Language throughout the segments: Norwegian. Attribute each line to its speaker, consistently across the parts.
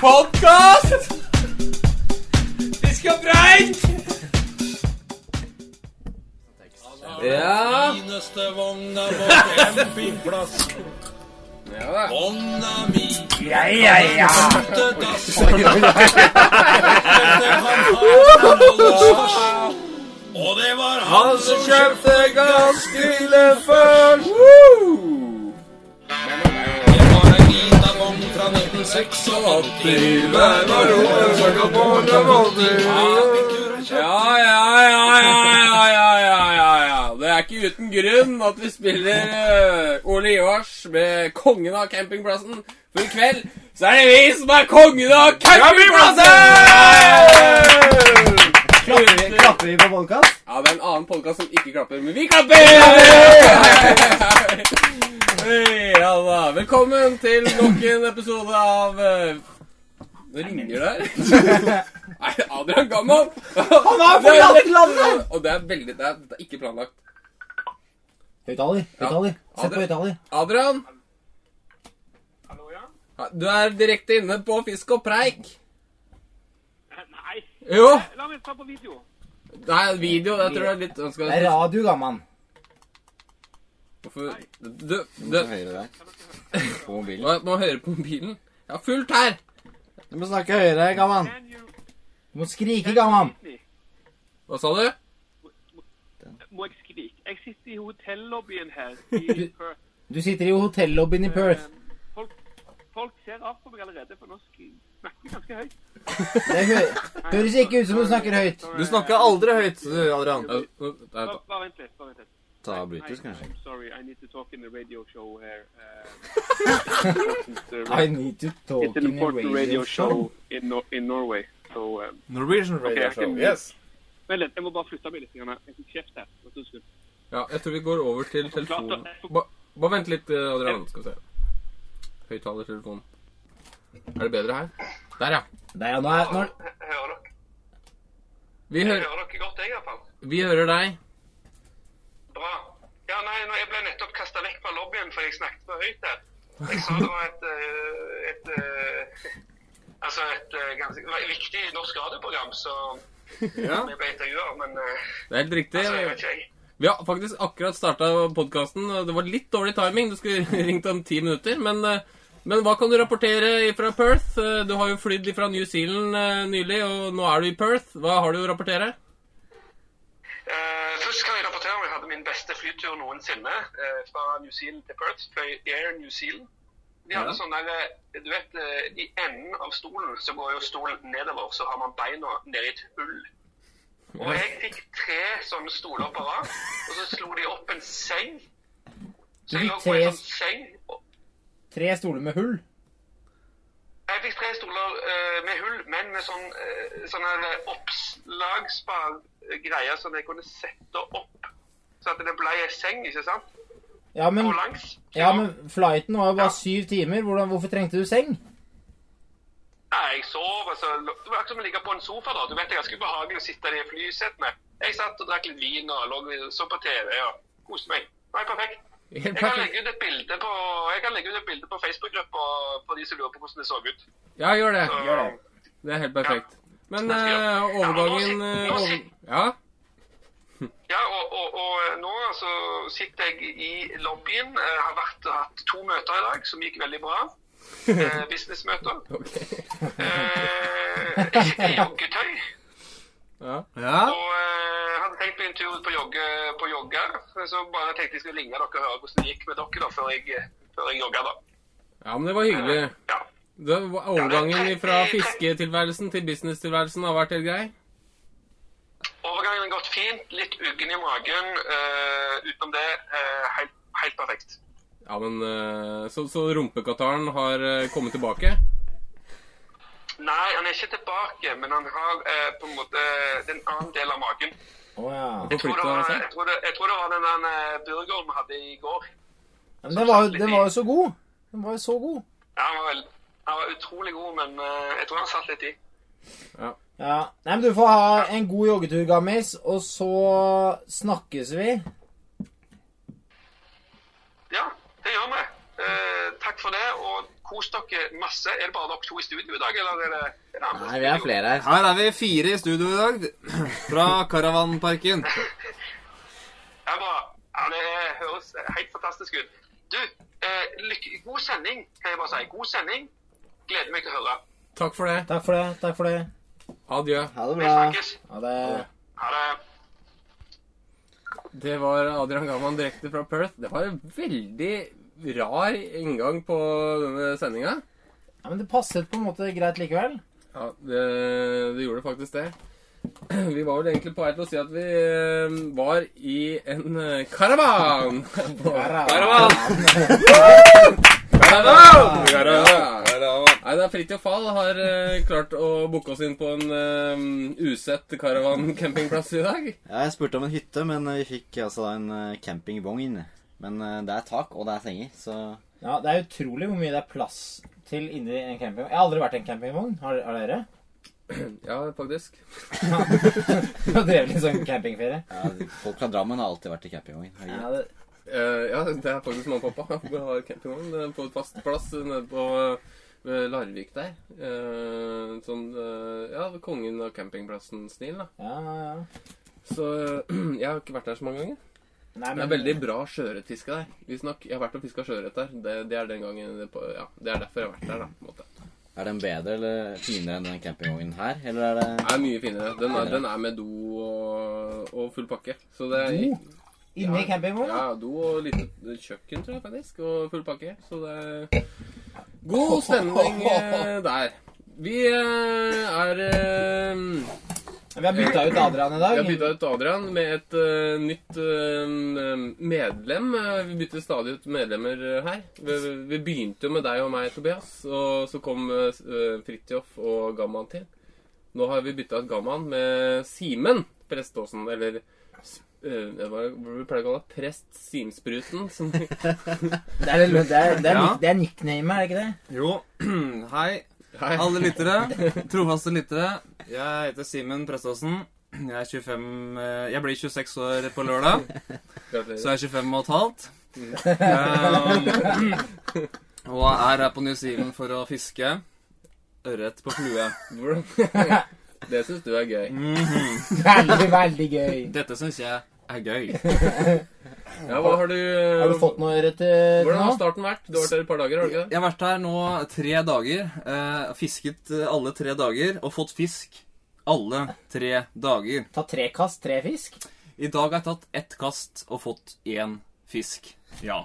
Speaker 1: Podkast! Vi skal preik! Ja.
Speaker 2: Fineste vogna på campingplass. Vogna mi
Speaker 1: Ja, ja, ja.
Speaker 2: til dass. Etter han hadde låst. Og det var han
Speaker 1: Han som
Speaker 2: som kjøpte
Speaker 1: kjøpte gassgrillen først! Woo!
Speaker 2: Det var en lita vogn fra 1986.
Speaker 1: Ja, ja, ja, ja, ja, ja, ja, ja, ja. Det er ikke uten grunn at vi spiller eh, Ole Ivars med kongen av campingplassen. For i kveld så er det vi som er kongen av campingplassen!
Speaker 3: Klapper vi på podcast?
Speaker 1: Ja, det er en annen podkast som ikke klapper, men vi klapper! Hei, ja da. Velkommen til nok en episode av eh, Nå ringer det her. Nei, Adrian Gamman. Han
Speaker 3: har forlatt landet!
Speaker 1: Og det er veldig Det er, det er ikke planlagt.
Speaker 3: Høyttaler. Høyttaler. Sett på høyttaler.
Speaker 1: Adrian?
Speaker 4: Hallo, ja?
Speaker 1: ja, Du er direkte inne på Fisk og preik.
Speaker 4: Eh, Nei,
Speaker 1: Jo.
Speaker 4: la meg ta på video.
Speaker 1: Nei, video. Jeg tror det er litt han skal-
Speaker 3: Det er radio, gammann.
Speaker 1: Hvorfor- Du, du,
Speaker 5: Høyre der. På mobilen.
Speaker 1: må, må høre på mobilen. Jeg har fullt her.
Speaker 5: Du må snakke høyere, gammann.
Speaker 4: Can you
Speaker 3: Du må skrike, gammann.
Speaker 4: see?
Speaker 1: Hva sa du?
Speaker 4: Må jeg skrike? Jeg sitter i hotellobbyen her i Perth. Eh,
Speaker 3: Du sitter i hotellobbyen i Perth.
Speaker 4: Folk, folk ser rart på meg allerede, for nå sk- snakker jeg ganske høyt.
Speaker 3: Det hø- høres ikke ut som du snakker høyt.
Speaker 5: Du snakker aldri høyt, du, Adrian.
Speaker 1: Ja, nå- nei,
Speaker 4: Bare bare eh, vent litt, bare vent litt.
Speaker 5: Ta
Speaker 4: I-
Speaker 5: Bluetooth,
Speaker 4: I-
Speaker 5: kanskje.
Speaker 4: I'm sorry, I need to talk in the radio show here. Uh, it's a-
Speaker 3: I need to talk
Speaker 4: it's an
Speaker 3: in a
Speaker 4: important
Speaker 3: radio
Speaker 4: radio
Speaker 3: show.
Speaker 4: show in, Nor in Norway, so... Um,
Speaker 6: Norwegian radio
Speaker 4: Okay, I
Speaker 6: show.
Speaker 4: can-
Speaker 6: Yes.
Speaker 4: Vent litt, jeg må bare flytte meg litt. grann. Jeg fikk kjeft her. Vent en stund.
Speaker 1: Ja, jeg tror vi går over til telefonen. Ba- Bare vent litt, eh, Adrian. Skal vi se. Høyttalertelefon. Er det bedre her? Der, ja.
Speaker 3: Nei, ja, nå er, nå er,
Speaker 4: Hører dere,
Speaker 1: Vi, hører-
Speaker 4: godt, jeg, i hvert fall?
Speaker 1: vi hører deg.
Speaker 4: Bra. Ja, nei, nå, jeg ble nettopp kasta vekk fra lobbyen fordi jeg snakket for høyt her. Jeg sa det var et, eh, et, eh, Altså et eh, ganske viktig norsk radioprogram, så
Speaker 1: Ja.
Speaker 4: vi ble intervjua, men eh,
Speaker 1: Det er helt
Speaker 4: altså,
Speaker 1: riktig.
Speaker 4: jeg vet ikke, jeg.
Speaker 1: Vi har faktisk akkurat starta podkasten. Det var litt dårlig timing. Du skulle ringt om ti minutter. Men, eh, men hva kan du rapportere fra Perth? Eh, Du har jo flydd fra New Zealand eh, nylig, og nå er du i Perth. Hva har du å rapportere?
Speaker 4: Eh, først kan jeg rapportere om jeg hadde min beste flytur noensinne. eh, fra New Zealand til Perth. Fløy Air New Zealand. De hadde
Speaker 1: Ja.
Speaker 4: sånn der, eh, du vet, eh, I enden av stolen så går jo stolen nedover, så har man beina nedi et hull. Og jeg fikk tre sånne stoler på rad, og så slo de opp en seng. Så jeg lå på en
Speaker 3: Tre-
Speaker 4: sånn seng. og-
Speaker 3: tre stoler med hull.
Speaker 4: Jeg fikk tre stoler eh, med hull, men med sånn, uh, sånn her oppslagsbar greie som jeg kunne sette opp. Så at det ble ei seng, ikke sant?
Speaker 3: Ja, men,
Speaker 4: På
Speaker 1: Mm.
Speaker 4: langs.
Speaker 3: ja, men flighten var jo
Speaker 4: Ja.
Speaker 3: bare syv timer. Hvordan, hvorfor trengte du seng?
Speaker 4: Nei, jeg sov, altså. Det var akkurat som å ligge på en sofa, da. Du vet, det er ganske ubehagelig å sitte i de flysetene. Jeg satt og drakk litt vin og lå, så på TV og koste meg. Det var perfekt.
Speaker 1: Helt
Speaker 4: Jeg kan
Speaker 1: perfekt.
Speaker 4: legge ut et bilde på, jeg kan legge ut et bilde på Facebook-gruppa for de som lurer på hvordan det så ut.
Speaker 1: Ja, gjør det.
Speaker 4: Så-
Speaker 1: Det er helt perfekt. Men
Speaker 4: Ja.
Speaker 1: eh, overgangen
Speaker 4: Ja,
Speaker 1: eh,
Speaker 4: nå
Speaker 1: over...
Speaker 4: sit-
Speaker 1: Ja?
Speaker 4: Ja, og, og, og nå altså, sitter jeg i lobbyen. Jeg har vært, hatt to møter i dag som gikk veldig bra. Eh, Businessmøter.
Speaker 1: Ok.
Speaker 4: Eh, jeg sitter i joggetøy.
Speaker 1: Ja.
Speaker 6: Ja.
Speaker 4: Og eh, hadde tenkt meg en tur ut på, jogge, på jogge. Så bare tenkte jeg skulle ringe dere og høre hvordan det gikk med dere da, før jeg, før jeg jogga. da.
Speaker 1: ja, men det var hyggelig.
Speaker 4: Ja.
Speaker 1: Det var overgangen fra fisketilværelsen til businesstilværelsen har vært helt grei.
Speaker 4: Overgangen har gått fint. Litt uggen i magen. Eh, utenom det, eh, helt, helt perfekt.
Speaker 1: Ja, men eh, Så, så rumpekataren har eh, kommet tilbake?
Speaker 4: Nei, han er ikke tilbake, men han har eh, på en måte eh, en annen del av magen.
Speaker 3: Å ja.
Speaker 4: Jeg tror, det
Speaker 1: Forflytta
Speaker 4: var,
Speaker 1: han seg?
Speaker 4: jeg, tror det, jeg tror det var den der eh, burgeren vi hadde i går.
Speaker 3: Men den var, jo- den var jo så god. Den var jo så god.
Speaker 4: Ja, han, var vel, han var utrolig god, men eh, jeg tror han satt litt i.
Speaker 3: Ja. Nei, men du får ha en god joggetur, gammis, og så snakkes vi.
Speaker 4: Ja, det gjør vi. Eh, takk for det, og kos dere masse. Er det bare dere to i studio i dag, eller er det en annen?
Speaker 3: Nei, vi er flere her.
Speaker 5: Her er vi fire i studio i dag, fra Karavanparken.
Speaker 4: Jeg bare, ja, det er- høres helt fantastisk ut. Du, eh, lykke, god sending, kan jeg bare si. God sending. Gleder meg til å høre.
Speaker 1: Takk for det.
Speaker 3: Takk for det. Takk for det.
Speaker 1: Adjø.
Speaker 3: Ha det
Speaker 4: Vi
Speaker 3: bra.
Speaker 4: snakkes.
Speaker 3: Ha det.
Speaker 4: Ha det.
Speaker 1: Det var Adrian Gaman direkte fra Perth. Det var en veldig rar inngang på denne sendinga.
Speaker 3: Ja, men det passet på en måte greit likevel.
Speaker 1: Ja, det, det gjorde faktisk det. Vi var vel egentlig på vei til å si at vi eh, var i en eh, karavan.
Speaker 2: Karavan!
Speaker 1: Karavan!
Speaker 2: Karavan!
Speaker 1: Nei, det er Fritjof Fall har eh, klart å booke oss inn på en eh, usett karavan-campingplass i dag.
Speaker 6: Ja, jeg spurte om en hytte, men vi fikk altså da en eh, campingvogn. Men eh, det er tak, og det er senger, så
Speaker 3: Ja, det er utrolig hvor mye det er plass til inni en campingvogn. Jeg har aldri vært i en campingvogn. Har, har dere?
Speaker 1: Ja, faktisk.
Speaker 3: Jeg har drevet litt sånn campingferie.
Speaker 6: ja, Folk fra Drammen har alltid vært i campingvogn.
Speaker 3: Ja,
Speaker 6: herregud.
Speaker 3: det,
Speaker 1: Eh, ja, det er faktisk mamma og pappa. Vi har campingvogn eh, på et fast plass nede på eh, Larvik der. Eh, sånn eh, Ja, kongen av campingplassen-stil, da.
Speaker 3: ja, ja, ja.
Speaker 1: Så eh, jeg har ikke vært der så mange ganger.
Speaker 3: Nei,
Speaker 1: Det er veldig bra sjøørretfiske der. Vi snak, jeg har vært og fiska sjøørret der. Det, det er den gangen det på, Ja, det er derfor jeg har vært der, da. På en måte.
Speaker 6: Er den bedre eller finere enn den campingvognen her? Eller er det
Speaker 1: Det er mye finere. Den er, den er med do og, og full pakke. Så det er
Speaker 3: Do?
Speaker 1: Ja,
Speaker 3: Inni campingvogn?
Speaker 1: Ja, do og lite kjøkken, tror jeg faktisk. Og full pakke. Så det er god stemning eh, der. Vi eh, er eh,
Speaker 3: Vi har bytta ut Adrian i dag.
Speaker 1: Vi har bytta ut Adrian med et eh, nytt eh, medlem. Eh, Vi bytter stadig ut medlemmer eh, her. Vi, vi begynte jo med deg og meg, Tobias, og så kom eh, Fridtjof og Gamman til. Nå har vi bytta ut Gamman med Simen Preståsen, eller eh, hva hva vi pleier å kalle det? Prest Simspruten, som
Speaker 3: Det er, det, er, det, er,
Speaker 5: Ja.
Speaker 3: det er nickname, er det ikke det?
Speaker 5: Jo, hei.
Speaker 1: Hei.
Speaker 5: Alle lyttere, trofaste lyttere. Jeg heter Simen Preståsen. Jeg er 25 eh, Jeg blir 26 år på lørdag, så
Speaker 1: Gratulerer.
Speaker 5: jeg er 25 og et halvt. Um, og er her på New Zealand for å fiske ørret på flue.
Speaker 1: Hvordan- Det syns du er gøy.
Speaker 3: Mm. Veldig, veldig gøy.
Speaker 5: Dette syns jeg er gøy.
Speaker 1: Ja, hva har du eh,
Speaker 3: Har du fått noe ørret til til
Speaker 1: Hvordan har
Speaker 3: nå?
Speaker 1: starten vært? Du har vært her et par dager, har du ikke det?
Speaker 5: Jeg har vært her nå tre dager, eh, fisket eh, alle tre dager og fått fisk alle tre dager.
Speaker 3: Ta tre kast, tre fisk?
Speaker 5: I dag har jeg tatt ett kast og fått én fisk. Ja.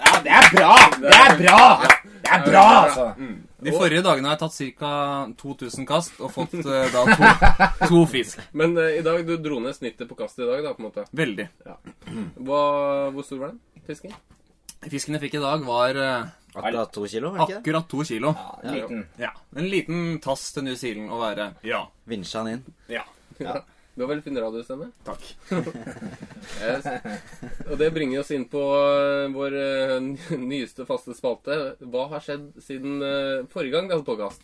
Speaker 3: Ja, det er bra! Det er bra! Det er bra, altså.
Speaker 5: De forrige dagene har jeg tatt ca. 2000 kast og fått eh, da to, to fisk.
Speaker 1: Men eh, i dag, du dro ned snittet på kastet i dag, da, på en måte.
Speaker 5: Veldig.
Speaker 1: Hva, hvor stor var den? Fisken?
Speaker 5: Fisken jeg fikk i dag, var eh,
Speaker 6: akkurat to kilo? var det ikke det?
Speaker 5: akkurat to kilo.
Speaker 3: Ja, liten.
Speaker 5: Ja. En liten tass til New Zealand å være. Ja.
Speaker 6: Vinsja den inn.
Speaker 5: Ja.
Speaker 1: Du har veldig fin radiostemme.
Speaker 5: Takk.
Speaker 1: Yes. Og det bringer oss inn på eh, vår eh, ny- nyeste faste spalte. Hva har skjedd siden eh, forrige gang vi hadde podkast?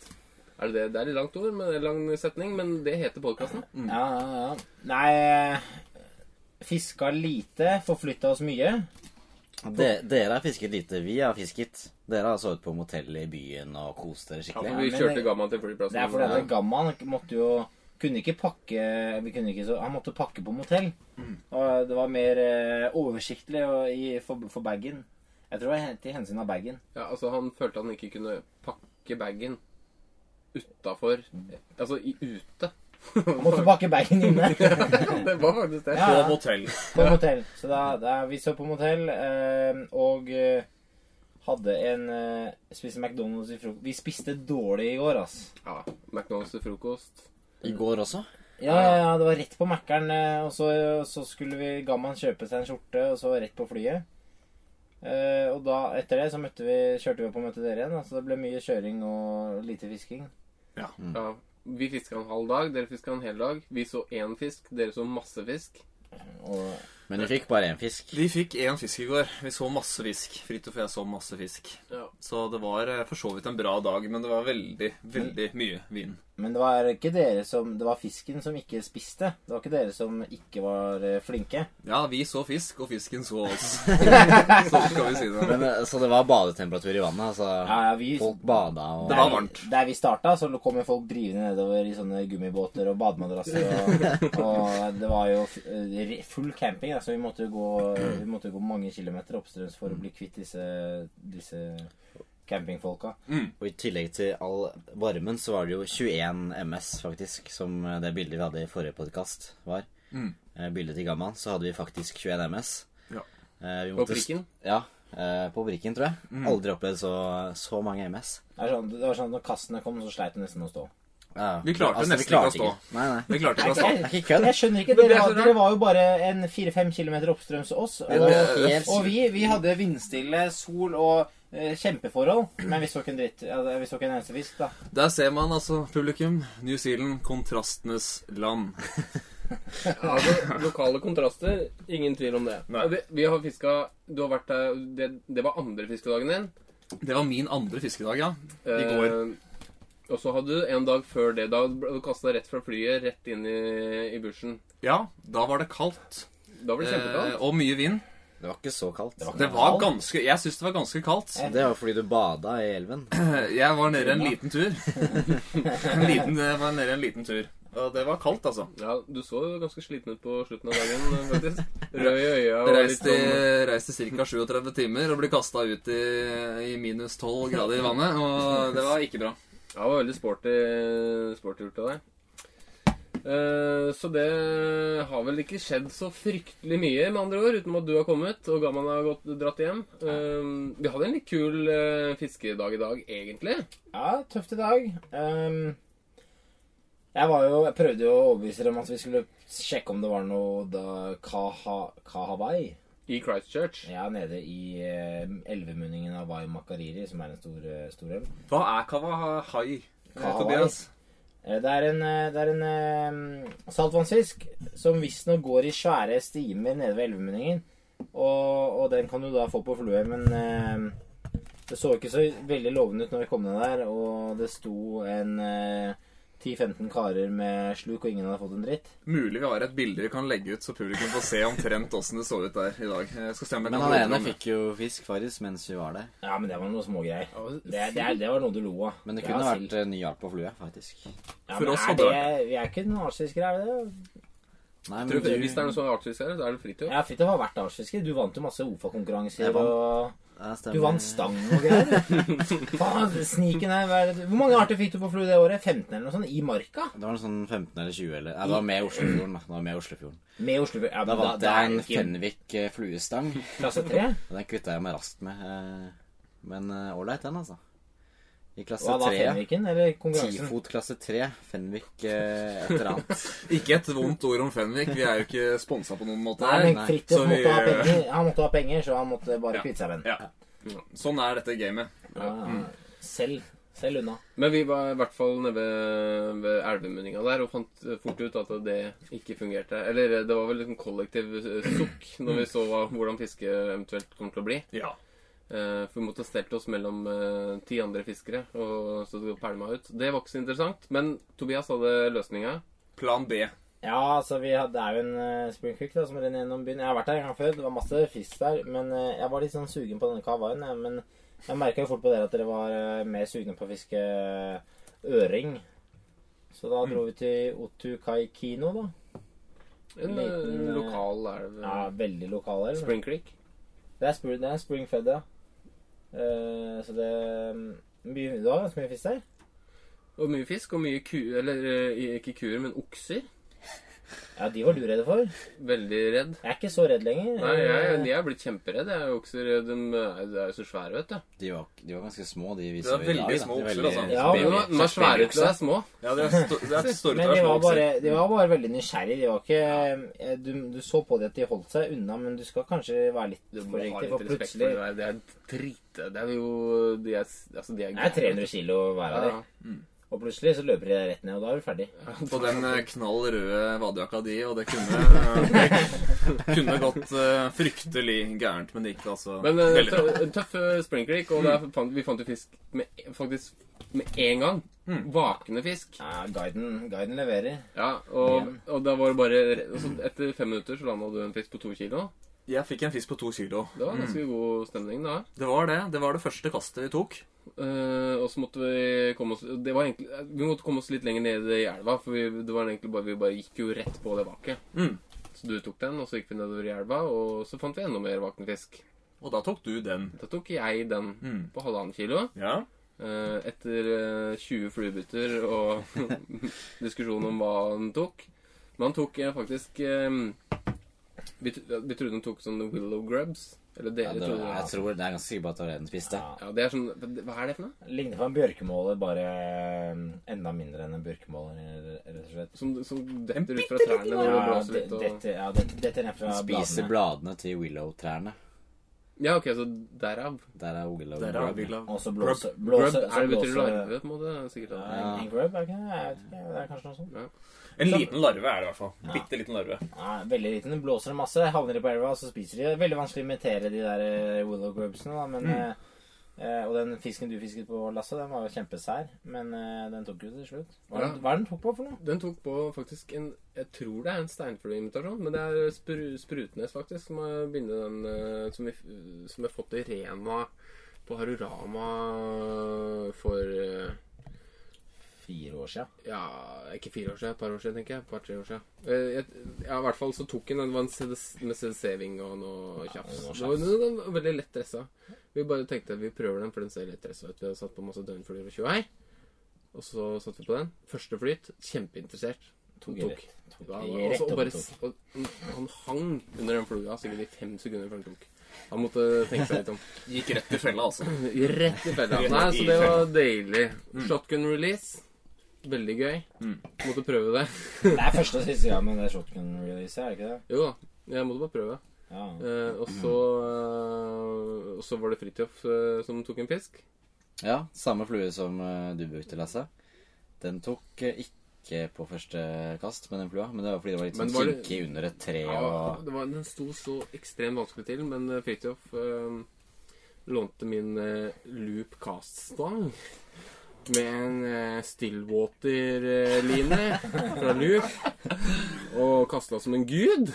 Speaker 1: Er det, det? det er et langt ord, men, en lang setning, men det heter podkasten.
Speaker 3: Ja, ja, ja. Nei Fiska lite, forflytta oss mye.
Speaker 6: De, dere har fisket lite. Vi har fisket. Dere har sovet på motell i byen og kost dere
Speaker 1: Ja, for
Speaker 6: skikkelig.
Speaker 1: Altså, vi
Speaker 3: men
Speaker 1: kjørte
Speaker 3: det-
Speaker 1: Gamma til flyplassen.
Speaker 3: Det er fordi at Gamman måtte jo Kunne ikke pakke vi kunne ikke så, Han måtte pakke på motell. Og det var mer eh, oversiktlig og i, for, for bagen. Jeg tror det var hen- til hensyn av bagen.
Speaker 1: Ja, altså Han følte han ikke kunne pakke bagen utafor Altså i ute.
Speaker 3: Han måtte pakke bagen inne
Speaker 1: det var faktisk det.
Speaker 3: Ja, ja.
Speaker 5: motell.
Speaker 3: på motell. Så da, da vi så på motell eh, og eh, hadde en eh, Spiste McDonald's i frokost. Vi spiste dårlig i går, ass.
Speaker 1: Ja, McDonald's til frokost.
Speaker 6: I går også.
Speaker 3: Ja, ja, ja, det var rett på Mækkern, eh, og så, så skulle vi Gamman kjøpe seg en skjorte, og så rett på flyet. Eh, og da, etter det, så møtte vi, kjørte vi opp og møtte dere igjen. da, Så det ble mye kjøring og lite fisking.
Speaker 1: Ja, Vi fiska en halv dag, dere fiska en hel dag. Vi så én fisk, dere så masse fisk.
Speaker 3: Og
Speaker 6: Men vi fikk bare én fisk.
Speaker 5: Vi fikk én fisk i går. Vi så masse fisk. Fridtjof og jeg så masse fisk.
Speaker 1: Ja. Mm.
Speaker 5: Så det var eh, for så vidt en bra dag, men det var veldig, veldig mye vin.
Speaker 3: Men det var ikke dere som Det var fisken som ikke spiste. Det var ikke dere som ikke var eh, flinke.
Speaker 5: Ja, vi så fisk, og fisken så oss. så skal vi si det.
Speaker 6: Men, eh, så det var badetemperatur i vannet, altså.
Speaker 3: Ja, ja, vi-
Speaker 6: Folk bada og
Speaker 5: Det var varmt.
Speaker 3: Der vi starta, så kom jo folk drivende nedover i sånne gummibåter og bademadrasser. Og, og det var jo f- eh, full camping, da, så vi måtte jo gå, vi måtte jo gå mange kilometer oppstrøms for å bli kvitt disse, disse campingfolka.
Speaker 6: Og i tillegg til all varmen så var det jo 21 MS, faktisk, som eh, det bildet vi hadde i forrige podkast var. Eh, Bildet til Gamman, så hadde vi faktisk 21 MS.
Speaker 5: Ja.
Speaker 6: Eh, vi
Speaker 1: På
Speaker 6: måtte st-
Speaker 1: prikken?
Speaker 6: Ja. eh, På brikken, tror jeg. Aldri opplevd så, så mange MS.
Speaker 3: Det, er sånn, det var sånn at når kastene kom, så sleit det nesten å stå.
Speaker 6: Ja, Altså,
Speaker 5: Vi klarte nesten ikke å stå.
Speaker 6: Nei, nei.
Speaker 5: Vi klarte ikke å stå.
Speaker 6: Det er ikke kødd.
Speaker 3: Jeg skjønner ikke.
Speaker 5: Men det er
Speaker 3: Dere,
Speaker 5: så
Speaker 3: var- dere
Speaker 5: rart.
Speaker 3: var jo bare en fire-fem kilometer oppstrøms oss. Og,
Speaker 6: var helt-
Speaker 3: og vi, vi hadde vindstille, sol og eh, kjempeforhold. Men vi så ikke en dritt. Ja, vi så ikke en eneste fisk, da.
Speaker 5: Der ser man altså, publikum, New Zealand, kontrastenes land.
Speaker 1: Ja, altså, lokale kontraster, ingen tvil om det.
Speaker 5: Nei.
Speaker 1: Og Vi, vi har fiska Du har vært der Det, det var andre fiskedagen din.
Speaker 5: Det var min andre fiskedag, ja. I
Speaker 1: Eh,
Speaker 5: går.
Speaker 1: og så hadde du en dag før det. Da ble du kasta rett fra flyet, rett inn i, i bushen.
Speaker 5: Ja, da var det kaldt.
Speaker 1: Da var det
Speaker 5: eh,
Speaker 1: kjempekaldt.
Speaker 5: Og mye vind.
Speaker 6: Det var ikke så kaldt.
Speaker 3: var ikke-
Speaker 5: Det var ganske Jeg syns det var ganske kaldt.
Speaker 6: Det var fordi du bada i elven.
Speaker 5: Jeg var nede en liten tur. En liten, jeg var nede en liten tur. Og det var kaldt, altså.
Speaker 1: Ja, du så jo ganske sliten ut på slutten av dagen, eh, faktisk. Rød i øya og litt
Speaker 5: Reist i,
Speaker 1: sånn
Speaker 5: reist i ca. 37 timer og ble kasta ut i, i minus 12 grader i vannet. Og det var ikke bra.
Speaker 1: Ja, det var veldig sporty, sporty gjort av deg. Eh, så det har vel ikke skjedd så fryktelig mye, med andre ord, utenom at du har kommet og Gamman har gått, dratt hjem. Eh, vi hadde en litt kul eh, fiskedag i dag, egentlig.
Speaker 3: Ja, tøft i dag. Ehm, jeg, var jo, jeg prøvde jo å overbevise dem om at vi skulle sjekke om det var noe da Kaha, Kahabai
Speaker 1: I Christchurch.
Speaker 3: Ja, nede i eh, elvemunningen av Wai Makariri, som er en stor, eh, stor elv.
Speaker 5: Hva er kawahai?
Speaker 3: Kawahai?
Speaker 5: Tobias?
Speaker 3: Eh, Det er en, eh, det er en eh, saltvannsfisk som visstnok går i svære stimer nede ved elvemunningen. Og, og den kan du da få på flue, men eh, det så ikke så veldig lovende ut når vi kom ned der. Og det sto en eh, 10-15 karer med sluk, og ingen hadde fått en dritt.
Speaker 5: Mulig vi har et bilde vi kan legge ut, så publikum får se omtrent åssen det så ut der i dag. Jeg skal se om jeg
Speaker 6: Men
Speaker 5: kan
Speaker 6: han
Speaker 5: holde
Speaker 6: ene
Speaker 5: fram det.
Speaker 6: fikk jo fisk faktisk mens vi var der.
Speaker 3: Ja, men det var noe smågreier.
Speaker 1: men-
Speaker 3: Det, er- det, er- det var noe du lo av.
Speaker 6: Men det
Speaker 3: Ja,
Speaker 6: kunne
Speaker 3: sild.
Speaker 6: vært eh, ny hjelp på flue, faktisk.
Speaker 3: ja,
Speaker 5: for
Speaker 3: men
Speaker 5: oss
Speaker 3: er
Speaker 5: hadde
Speaker 3: det Vi er ikke noen artsfiskere, er vi det?
Speaker 6: Nei, men
Speaker 1: Tror du,
Speaker 6: du-
Speaker 1: hvis det er noe sånn arktisk her, så er det fritur.
Speaker 3: Ja, Fritt, det har vært artsfisker. Du vant jo masse OFA-konkurranser.
Speaker 6: Jeg vant.
Speaker 3: og...
Speaker 6: Ja, stemmer.
Speaker 3: Du vant stang og greier. Faen, sniken her. hva er det- Hvor mange arter fikk du på flue det året? 15 eller noe sånt? I marka?
Speaker 6: Det var noe sånn 15 eller 20 eller Nei, det var med Oslofjorden, da. Det var med Oslofjorden.
Speaker 3: Med Oslo ja,
Speaker 6: Da
Speaker 3: men
Speaker 6: vant
Speaker 3: da-
Speaker 6: jeg
Speaker 3: det
Speaker 6: en
Speaker 3: er ikke
Speaker 6: Fenvik eh, fluestang.
Speaker 3: Klasse 3?
Speaker 6: Og den kvitta jeg meg raskt med. eh, Men eh, ålreit, den, altså. I klasse
Speaker 3: Hva da,
Speaker 6: tre.
Speaker 3: Fenviken? Eller konkurransen?
Speaker 6: Tifot klasse tre. Fenvik eh, et eller annet.
Speaker 5: Ikke et vondt ord om Fenvik. Vi er jo ikke sponsa på noen måte.
Speaker 3: Nei,
Speaker 5: her.
Speaker 3: men
Speaker 6: nei.
Speaker 3: Fridtjof
Speaker 5: Så vi-
Speaker 3: måtte ha penger, han måtte ha penger, så han måtte bare
Speaker 5: Ja.
Speaker 3: kvitte seg med den.
Speaker 5: Ja. Sånn er dette gamet.
Speaker 3: Ja, Selv. Selv unna.
Speaker 1: Men vi var i hvert fall nede ved, ved elvemunninga der og fant eh, fort ut at det ikke fungerte. Eller eh, det var vel en kollektiv eh, sukk når vi så hva, hvordan fisket eventuelt kom til å bli.
Speaker 5: Ja.
Speaker 1: Eh, for vi måtte ha stelt oss mellom eh, ti andre fiskere, og så pælma ut. Det var ikke så interessant, men Tobias hadde løsninga.
Speaker 5: Plan B.
Speaker 3: Ja, altså vi hadde, det er jo en uh, spring creek da, som renner gjennom byen. Jeg har vært der en gang før, det var masse fisk der. Men eh, jeg var litt sånn sugen på denne kavaien. jeg, Men jeg merka jo fort på dere at dere var eh, mer sugne på å fiske eh, øring. Så da dro vi til Otukai kino, da.
Speaker 1: En
Speaker 3: Liten,
Speaker 1: eh,
Speaker 3: eh,
Speaker 1: lokal elv. eh,
Speaker 3: Ja, veldig lokal her.
Speaker 1: Spring Creek.
Speaker 3: Det er, spring, det er spring fed, ja. Eh, så det mye, Det var ganske mye fisk der.
Speaker 1: Og mye fisk, og mye ku... Eller eh, ikke kuer, men okser.
Speaker 3: Ja, de var du redd for.
Speaker 1: Veldig redd.
Speaker 3: Jeg er ikke så redd lenger.
Speaker 1: Nei, jeg,
Speaker 3: Eh,
Speaker 1: jeg er blitt kjemperedd. Jeg er jo okser De er de er jo så svære, vet du.
Speaker 6: De var, de var ganske små, de
Speaker 5: Det
Speaker 6: viser
Speaker 5: var
Speaker 6: vi i dag.
Speaker 5: veldig
Speaker 6: da.
Speaker 5: små
Speaker 6: De var
Speaker 5: okser,
Speaker 6: veldig-
Speaker 5: altså.
Speaker 3: Ja,
Speaker 1: De er- de er svære til de er små.
Speaker 5: Ja, det er, sto, det er store
Speaker 3: Men de var,
Speaker 5: spørsmål.
Speaker 3: bare, de var bare veldig nysgjerrige. De var ikke, eh, du, du så på dem at de holdt seg unna, men du skal kanskje være litt
Speaker 1: Du må ha
Speaker 3: forsiktig,
Speaker 1: litt respekt for
Speaker 3: for
Speaker 1: det
Speaker 3: plutselig
Speaker 1: der. Det er drit... Det er jo De er, altså, de er
Speaker 3: Det er 300 kilo hver av
Speaker 1: Ja,
Speaker 3: dem.
Speaker 1: ja.
Speaker 3: Og plutselig så løper de deg rett ned, og da er du ferdig.
Speaker 5: På den eh, knall røde vadejakka di, og det kunne, eh, kunne gått eh, fryktelig gærent, men det gikk altså
Speaker 1: Men eh,
Speaker 5: veldig bra. Mm.
Speaker 1: tø- en tøff eh, springkrig, og der fant, vi fant jo fisk med, faktisk med en gang.
Speaker 5: Mm.
Speaker 1: Vakne fisk.
Speaker 3: Ja, guiden, guiden leverer.
Speaker 1: Ja, og, og da var det bare og så Etter fem minutter så landa du en fisk på to kilo.
Speaker 5: Jeg fikk en fisk på to kilo.
Speaker 1: Det var ganske
Speaker 5: Mm.
Speaker 1: god stemning da.
Speaker 5: Det var det. Det var det første kastet vi tok.
Speaker 1: Eh, og så måtte vi komme oss det var egentlig, Vi måtte komme oss litt lenger ned i elva, for vi, det var egentlig bare, vi bare gikk jo rett på det vaket.
Speaker 5: Mm.
Speaker 1: Så du tok den, og så gikk vi nedover i elva, og så fant vi enda mer vakne fisk.
Speaker 5: Og da tok du den.
Speaker 1: Da tok jeg den
Speaker 5: Mm.
Speaker 1: på halvannen kilo.
Speaker 5: Ja.
Speaker 1: Eh, etter eh, 20 flybytter og diskusjon om hva han tok. Men han tok eh, faktisk eh, vi, tr- vi trodde han tok sånne willow grubs. Eller
Speaker 6: Ja,
Speaker 1: dere
Speaker 6: det,
Speaker 1: trodde
Speaker 6: jeg tror det er ganske sikker på at det var det den spiste.
Speaker 3: Ja.
Speaker 1: Ja, det er sånn Hva er det for noe?
Speaker 3: Ligner på en bjørkemåle, bare eh, enda mindre enn en bjørkemåle, r- rett og slett.
Speaker 1: Som, som detter ut fra trærne når det
Speaker 3: Ja,
Speaker 1: blåser
Speaker 3: det-
Speaker 1: litt og
Speaker 3: dette, ja, det- dette er ned fra
Speaker 6: Den spiser
Speaker 3: bladene.
Speaker 6: bladene til willow-trærne.
Speaker 1: Ja, ok, så derav.
Speaker 6: Der er willow
Speaker 5: Der er
Speaker 6: grub.
Speaker 5: vi glad.
Speaker 3: Og så blåser
Speaker 1: Grub
Speaker 3: blåser- så
Speaker 1: er det betyr
Speaker 3: blåser-
Speaker 1: larve, på en måte. Sikkert.
Speaker 3: Ja,
Speaker 1: Ja.
Speaker 3: En grub, er det ikke det? Jeg vet ikke, det er kanskje noe sånt.
Speaker 5: En liten larve er det i hvert fall. Bitte liten larve.
Speaker 3: Nei, veldig liten. Den blåser masse, havner de på elva, og så spiser de. Veldig vanskelig å imitere de der eh, willow grubsene, da, men eh, eh, Og den fisken du fisket på, Lasse, den var jo kjempesær, men eh, den tok jo til slutt. Hva er
Speaker 1: Ja.
Speaker 3: den- hva er den tok på for noe?
Speaker 1: Den tok på faktisk en Jeg tror det er en steinflueimitasjon, men det er spru, Sprutnes, faktisk, som har bindet den eh, som vi, f- som vi har fått i Rema på Harurama for eh,
Speaker 3: Fire år siden.
Speaker 1: ja, ikke fire år siden, et par år siden, tenker jeg. Et par-tre år siden. Eh, Jeg, ja, i hvert fall så tok hun den. Det var en CD, med CD-saving og noe tjafs.
Speaker 3: noe
Speaker 1: Det var, den var veldig lett dressa. Vi bare tenkte at vi prøver den, for den ser lett dressa ut. Vi hadde satt på masse døgnflyer og tjuvei. Og så satte vi på den. Første flyt. Kjempeinteressert.
Speaker 3: Tok
Speaker 1: Tok.
Speaker 3: rett. Tok
Speaker 1: Ja,
Speaker 3: i
Speaker 1: og
Speaker 3: rett
Speaker 1: så
Speaker 3: opp
Speaker 1: bare,
Speaker 3: og tok.
Speaker 1: og han hang under den flua sikkert i fem sekunder før han tok. Han måtte tenke seg litt om.
Speaker 5: Gikk rett i fella, altså.
Speaker 1: Rett i fella.
Speaker 5: Rett
Speaker 1: Nei,
Speaker 5: i Mm.
Speaker 1: så det var deilig. Shotgun release. Veldig gøy. Måtte prøve det.
Speaker 3: Det er første og siste gang med det shotgun-releaset, er det ikke det?
Speaker 1: Jo da. Jeg måtte bare prøve.
Speaker 3: Ja.
Speaker 1: Eh, og så eh, Og så var det Fridtjof eh, som tok en fisk.
Speaker 6: Ja, samme flue som eh, du brukte, Lasse. Den tok eh, ikke på første kast med den flua, men det var fordi det var litt
Speaker 1: Men
Speaker 6: sånn
Speaker 1: var det-
Speaker 6: kinkig under et tre
Speaker 1: Ja,
Speaker 6: og
Speaker 1: det var, den sto så ekstremt vanskelig til, men eh, Fridtjof eh, lånte min eh, loop cast-stang med en eh, Stillwater-line fra loop og kasta som en gud.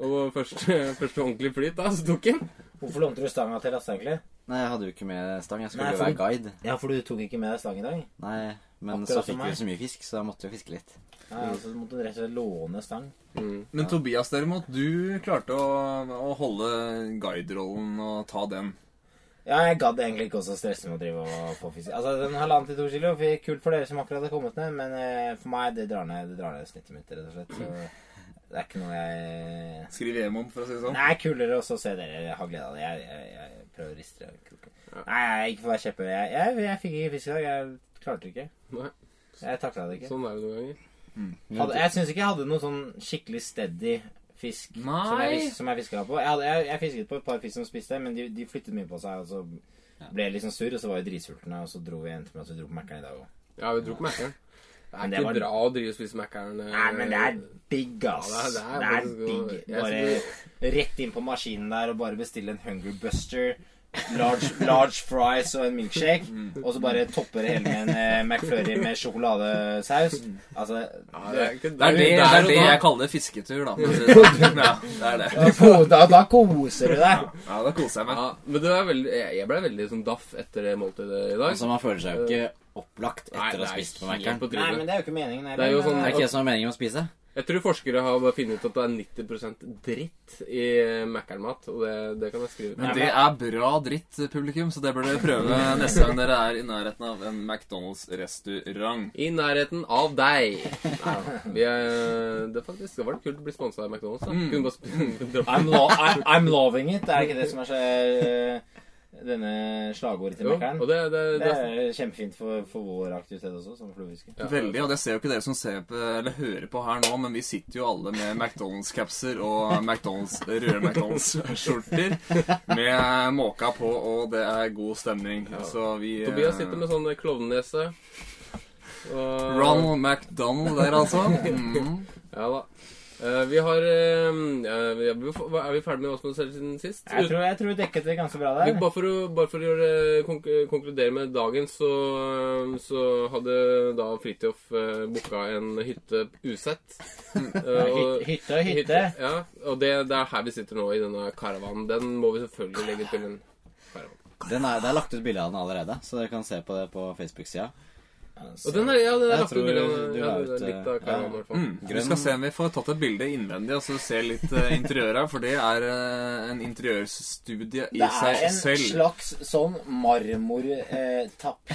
Speaker 1: Og første, første ordentlig flyt da, så tok han.
Speaker 3: Hvorfor lånte du stanga til Lasse, egentlig?
Speaker 6: Nei, jeg hadde jo ikke med stang. Jeg skulle
Speaker 3: Nei,
Speaker 6: jo
Speaker 3: for
Speaker 6: være
Speaker 3: du-
Speaker 6: guide.
Speaker 3: Ja, for du tok ikke med deg stang i dag?
Speaker 6: Nei, men
Speaker 3: Akkurat
Speaker 6: så
Speaker 3: som
Speaker 6: fikk vi
Speaker 3: meg.
Speaker 6: jo så mye fisk, så jeg måtte jo fiske litt.
Speaker 3: Ja, så du måtte rett og slett låne stang.
Speaker 1: Mm,
Speaker 5: Men Tobias, derimot, du klarte å, å holde guiderollen og ta den.
Speaker 3: Ja, jeg gadd egentlig ikke også stresse med å drive og få fisk. Altså, den halvannen til to kilo fi- kult for dere som akkurat har kommet ned, men eh, for meg, det drar ned, det drar ned snittet mitt, rett og slett. Så det er ikke noe jeg
Speaker 5: Skriv hjem om, for å si det sånn.
Speaker 3: Nei, kulere også å se dere ha glede av det. Jeg, jeg, jeg prøver å riste det. kroken. Nei, nei, ikke for å være kjepphøy. Jeg, jeg, jeg fikk ikke fisk i dag. Jeg klarte det ikke.
Speaker 1: Nei.
Speaker 3: Jeg takla det ikke.
Speaker 1: Sånn er det noen ganger.
Speaker 3: Hadde, jeg syns ikke jeg hadde noen sånn skikkelig steady fisk som jeg,
Speaker 5: Nei.
Speaker 3: fis- som jeg fiska på. Jeg, hadde, jeg, jeg fisket på et par fisk som spiste, men de, de flyttet mye på seg. Og så ble jeg liksom sur, og så var vi dritsultne, og så dro vi endte med at vi dro på Mækkern i dag òg.
Speaker 1: Ja, vi dro på Mækkern. Det er
Speaker 3: Men det
Speaker 1: ikke
Speaker 3: var-
Speaker 1: bra å drive og spise Mækkern. eh,
Speaker 3: Nei, men det er digg, ass.
Speaker 1: Ja, det
Speaker 3: det
Speaker 1: er-
Speaker 3: er,
Speaker 1: det er faktisk-
Speaker 3: digg.
Speaker 1: jeg
Speaker 3: Bare
Speaker 1: skulle-
Speaker 3: rett inn på maskinen der og bare bestille en Hunger Buster. Large, large fries og en milkshake. Og så bare topper det hele med en eh, McFlurry med sjokoladesaus. Altså
Speaker 1: Ja, det er ikke
Speaker 5: Det er det, det,
Speaker 1: der
Speaker 5: er
Speaker 1: og
Speaker 5: det
Speaker 1: da.
Speaker 5: jeg kaller fisketur, da. for å si det sånn. Ja, det er det.
Speaker 3: da, ko- da, da koser du deg.
Speaker 5: Ja, da koser jeg meg.
Speaker 1: Ja, men det var veldig, jeg jeg ble veldig sånn daff etter det måltidet i dag.
Speaker 6: Altså, man føler seg jo ikke opplagt
Speaker 1: Nei,
Speaker 6: etter å
Speaker 1: det
Speaker 6: ha
Speaker 1: er
Speaker 6: spist på
Speaker 1: helt
Speaker 6: Mækkern.
Speaker 1: på
Speaker 6: Er
Speaker 1: trynet.
Speaker 3: Nei, men det er jo ikke meningen. heller,
Speaker 1: Det er jo
Speaker 3: men,
Speaker 1: sånn-
Speaker 3: eh,
Speaker 6: det ikke det som er meningen med å spise?
Speaker 1: Jeg tror forskere har bare funnet ut at det er 90 dritt i Mækkern-mat. Og det, det kan jeg skrive
Speaker 5: Men
Speaker 1: ut.
Speaker 5: det er bra dritt, publikum, så det bør dere prøve neste gang dere er i nærheten av en McDonald's-restaurant.
Speaker 1: I nærheten av deg. Nei, vi er, det er faktisk det var litt kult å bli sponsa av McDonald's. Da. Kunne bare sp- droppe
Speaker 3: I'm, lo I, I'm loving it. Er det ikke det som er så, eh, denne slagordet til
Speaker 1: Jo,
Speaker 3: Mækkern?
Speaker 1: og det, det,
Speaker 3: Det
Speaker 1: det, sånn-
Speaker 3: er kjempefint for, for vår aktivitet også, som fluefisker.
Speaker 5: Veldig, og det ser jo ikke dere som ser på, eller hører på her nå, men vi sitter jo alle med McDonald's-capser og McDonald's, røde McDonald's-skjorter med måka på, og det er god stemning. Så vi eh,
Speaker 1: Tobias sitter med sånn klovnenese. Og-
Speaker 5: Ronald McDonald der, altså. Mm.
Speaker 1: Ja da. Eh, vi har eh, eh, vi- hva- Er vi ferdig med hva som har skjedd siden sist?
Speaker 3: Jeg tror, jeg tror vi dekket det ganske bra
Speaker 1: Vi-
Speaker 3: der.
Speaker 1: Bare for å, bare for å gjøre, eh, konk konkludere med dagen, så, så hadde da Fridtjof uh, booka en hytte usett. Eh, og-
Speaker 3: Hy- Hytte og hytte.
Speaker 1: Ja, og det, det er her vi sitter nå, i denne karavanen. Den må vi selvfølgelig legge til en karavan.
Speaker 6: Den er, det er lagt ut bilde av den allerede, så dere kan se på det på Facebook-sida.
Speaker 1: Og den er, ja, det er
Speaker 6: Jeg
Speaker 1: lagt ut
Speaker 6: tror
Speaker 1: bilde
Speaker 6: du
Speaker 1: ja, det
Speaker 6: la
Speaker 1: er
Speaker 6: ut,
Speaker 1: litt av
Speaker 6: eh,
Speaker 1: karavanen,
Speaker 6: ja.
Speaker 1: i hvert fall.
Speaker 5: Mm. Vi skal se om vi får tatt et bilde innvendig, og så se litt eh, interiør her. For det er eh, en interiørstudie i
Speaker 3: Det er
Speaker 5: seg
Speaker 3: en
Speaker 5: selv.
Speaker 3: slags sånn marmortapet i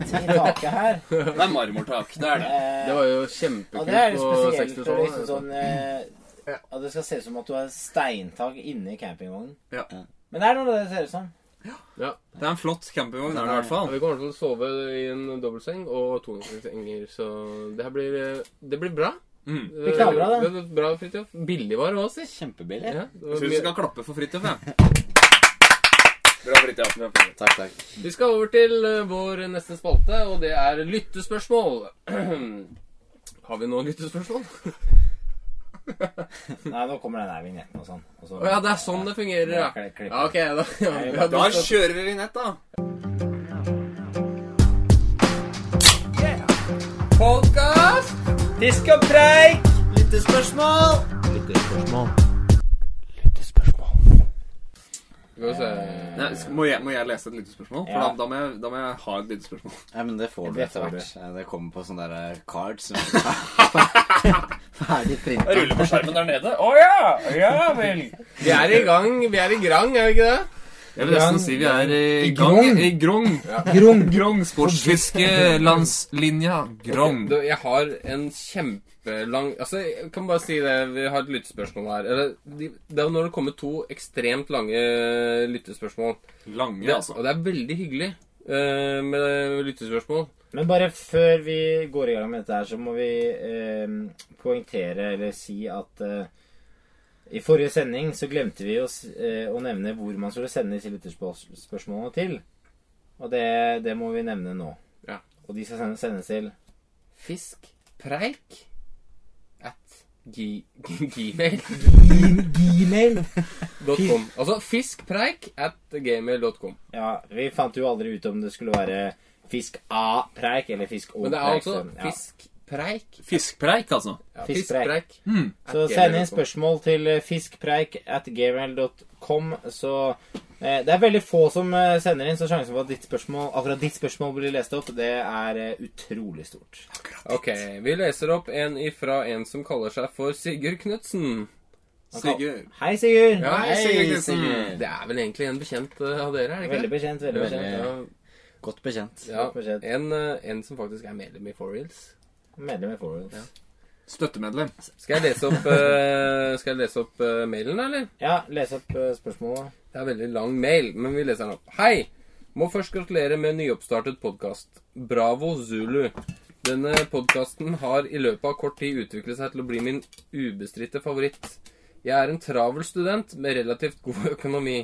Speaker 3: taket her.
Speaker 5: Det er marmortak. Det er
Speaker 1: Det
Speaker 3: Eh,
Speaker 1: var jo
Speaker 3: og det er
Speaker 1: kjempekult
Speaker 3: litt
Speaker 1: på
Speaker 3: spesielt. og Liksom
Speaker 1: 60-tallet.
Speaker 3: sånn, eh, at det skal se ut som at du har steintak inne i campingvognen.
Speaker 5: Ja.
Speaker 3: Men det er noe det det ser ut som.
Speaker 1: Ja.
Speaker 5: Det er en flott campingvogn, er det i hvert
Speaker 1: Ja,
Speaker 5: fall.
Speaker 1: vi kommer til å sove i en dobbeltseng og toningssenger, så det her blir, eh, det blir bra.
Speaker 5: Mm.
Speaker 1: Det
Speaker 3: knallbra, da.
Speaker 1: det er Bra, Fridtjof. Billig var det også, si.
Speaker 6: Kjempebillig.
Speaker 1: Ja, det var
Speaker 5: Jeg syns vi
Speaker 1: mye-
Speaker 5: skal klappe for Fridtjof, jeg.
Speaker 6: Takk, takk.
Speaker 1: vi skal over til eh, vår neste spalte, og det er lyttespørsmål. Har vi noen lyttespørsmål?
Speaker 3: Nei, nå kommer den her vignetten og sånn. Og så,
Speaker 1: Å ja, det er sånn det fungerer, ja.
Speaker 3: Klipp, klipp.
Speaker 1: ja ok, da. Ja, ja,
Speaker 5: Da
Speaker 1: da
Speaker 5: kjører vi vignett, da.
Speaker 1: Podcast!
Speaker 3: Disk og preik!
Speaker 6: Lyttespørsmål!
Speaker 1: Skal vi se.
Speaker 5: Nei, sk- må, jeg, må jeg lese et lite spørsmål? For
Speaker 3: Ja.
Speaker 5: da, da, må jeg, da må jeg ha et lite spørsmål.
Speaker 6: Nei, men det får du
Speaker 3: Det
Speaker 6: etter
Speaker 3: får
Speaker 6: hvert. Eh, Det kommer på sånne der eh, cards. som- Ferdig printa.
Speaker 5: Ruller på skjermen der nede.
Speaker 1: Vi er i gang. Vi er i grang, er vi ikke det?
Speaker 5: Jeg vil nesten si vi er eh, i
Speaker 3: I
Speaker 5: gang
Speaker 3: Grong.
Speaker 5: i Grong.
Speaker 3: Grung.
Speaker 5: Grong sportsfiskelandslinja. Grong.
Speaker 1: Du, jeg har en kjempelang Altså, jeg kan bare si det. Vi har et lyttespørsmål her. Eller, de- Det er jo når det kommer to ekstremt lange lyttespørsmål.
Speaker 5: Lange,
Speaker 1: Det,
Speaker 5: altså.
Speaker 1: Og det er veldig hyggelig eh, med lyttespørsmål.
Speaker 3: Men bare før vi går i gang med dette her, så må vi eh, poengtere eller si at eh, i forrige sending så glemte vi oss, eh, å nevne hvor man skulle sende disse lytterspørsmålene til. Og det, det må vi nevne nå.
Speaker 1: Ja.
Speaker 3: Og de skal sendes, sendes til
Speaker 1: Fiskpreik at g- g- gmail.com.
Speaker 3: Gmail.
Speaker 1: Altså fiskpreik at gmail.com.
Speaker 3: Ja, vi fant jo aldri ut om det skulle være Fisk A-preik eller Fisk
Speaker 1: Men det
Speaker 3: O-preik.
Speaker 1: er altså
Speaker 3: så- ja.
Speaker 1: fiskpreik.
Speaker 5: Fiskpreik, altså.
Speaker 1: Ja,
Speaker 3: Fiskpreik.
Speaker 1: fiskpreik.
Speaker 3: Hmm. Så
Speaker 1: at
Speaker 3: send inn
Speaker 1: gmail.com.
Speaker 3: spørsmål til eh, fiskpreik at gmail.com. Så eh, det er veldig få som eh, sender inn, så sjansen for at ditt spørsmål, akkurat ditt spørsmål blir lest opp, det er eh, utrolig stort.
Speaker 1: Ok, vi leser opp en ifra en som kaller seg for Sigurd Knutsen.
Speaker 3: Han kal-
Speaker 5: Sigurd.
Speaker 3: Hei, Sigurd.
Speaker 1: Ja, hei,
Speaker 5: Sigurd Knutsen.
Speaker 1: Det er vel egentlig en bekjent eh, av dere, er det
Speaker 3: Veldig
Speaker 1: ikke?
Speaker 3: bekjent. veldig bekjent.
Speaker 1: Ja,
Speaker 6: Godt bekjent.
Speaker 1: ja,
Speaker 3: Godt bekjent.
Speaker 1: en, eh, en som faktisk er medlem i Four Reels.
Speaker 3: Medlem i Forwards. Ja.
Speaker 5: Støttemedlem.
Speaker 1: Skal jeg lese opp, eh, skal jeg lese opp eh, mailen, eller?
Speaker 3: les opp eh, spørsmålet.
Speaker 1: Det er veldig lang mail, men vi leser den opp. Hei! Må først gratulere med nyoppstartet podkast. Bravo Zulu. Denne podkasten har i løpet av kort tid utviklet seg til å bli min ubestridte favoritt. Jeg er en travel student med relativt god økonomi.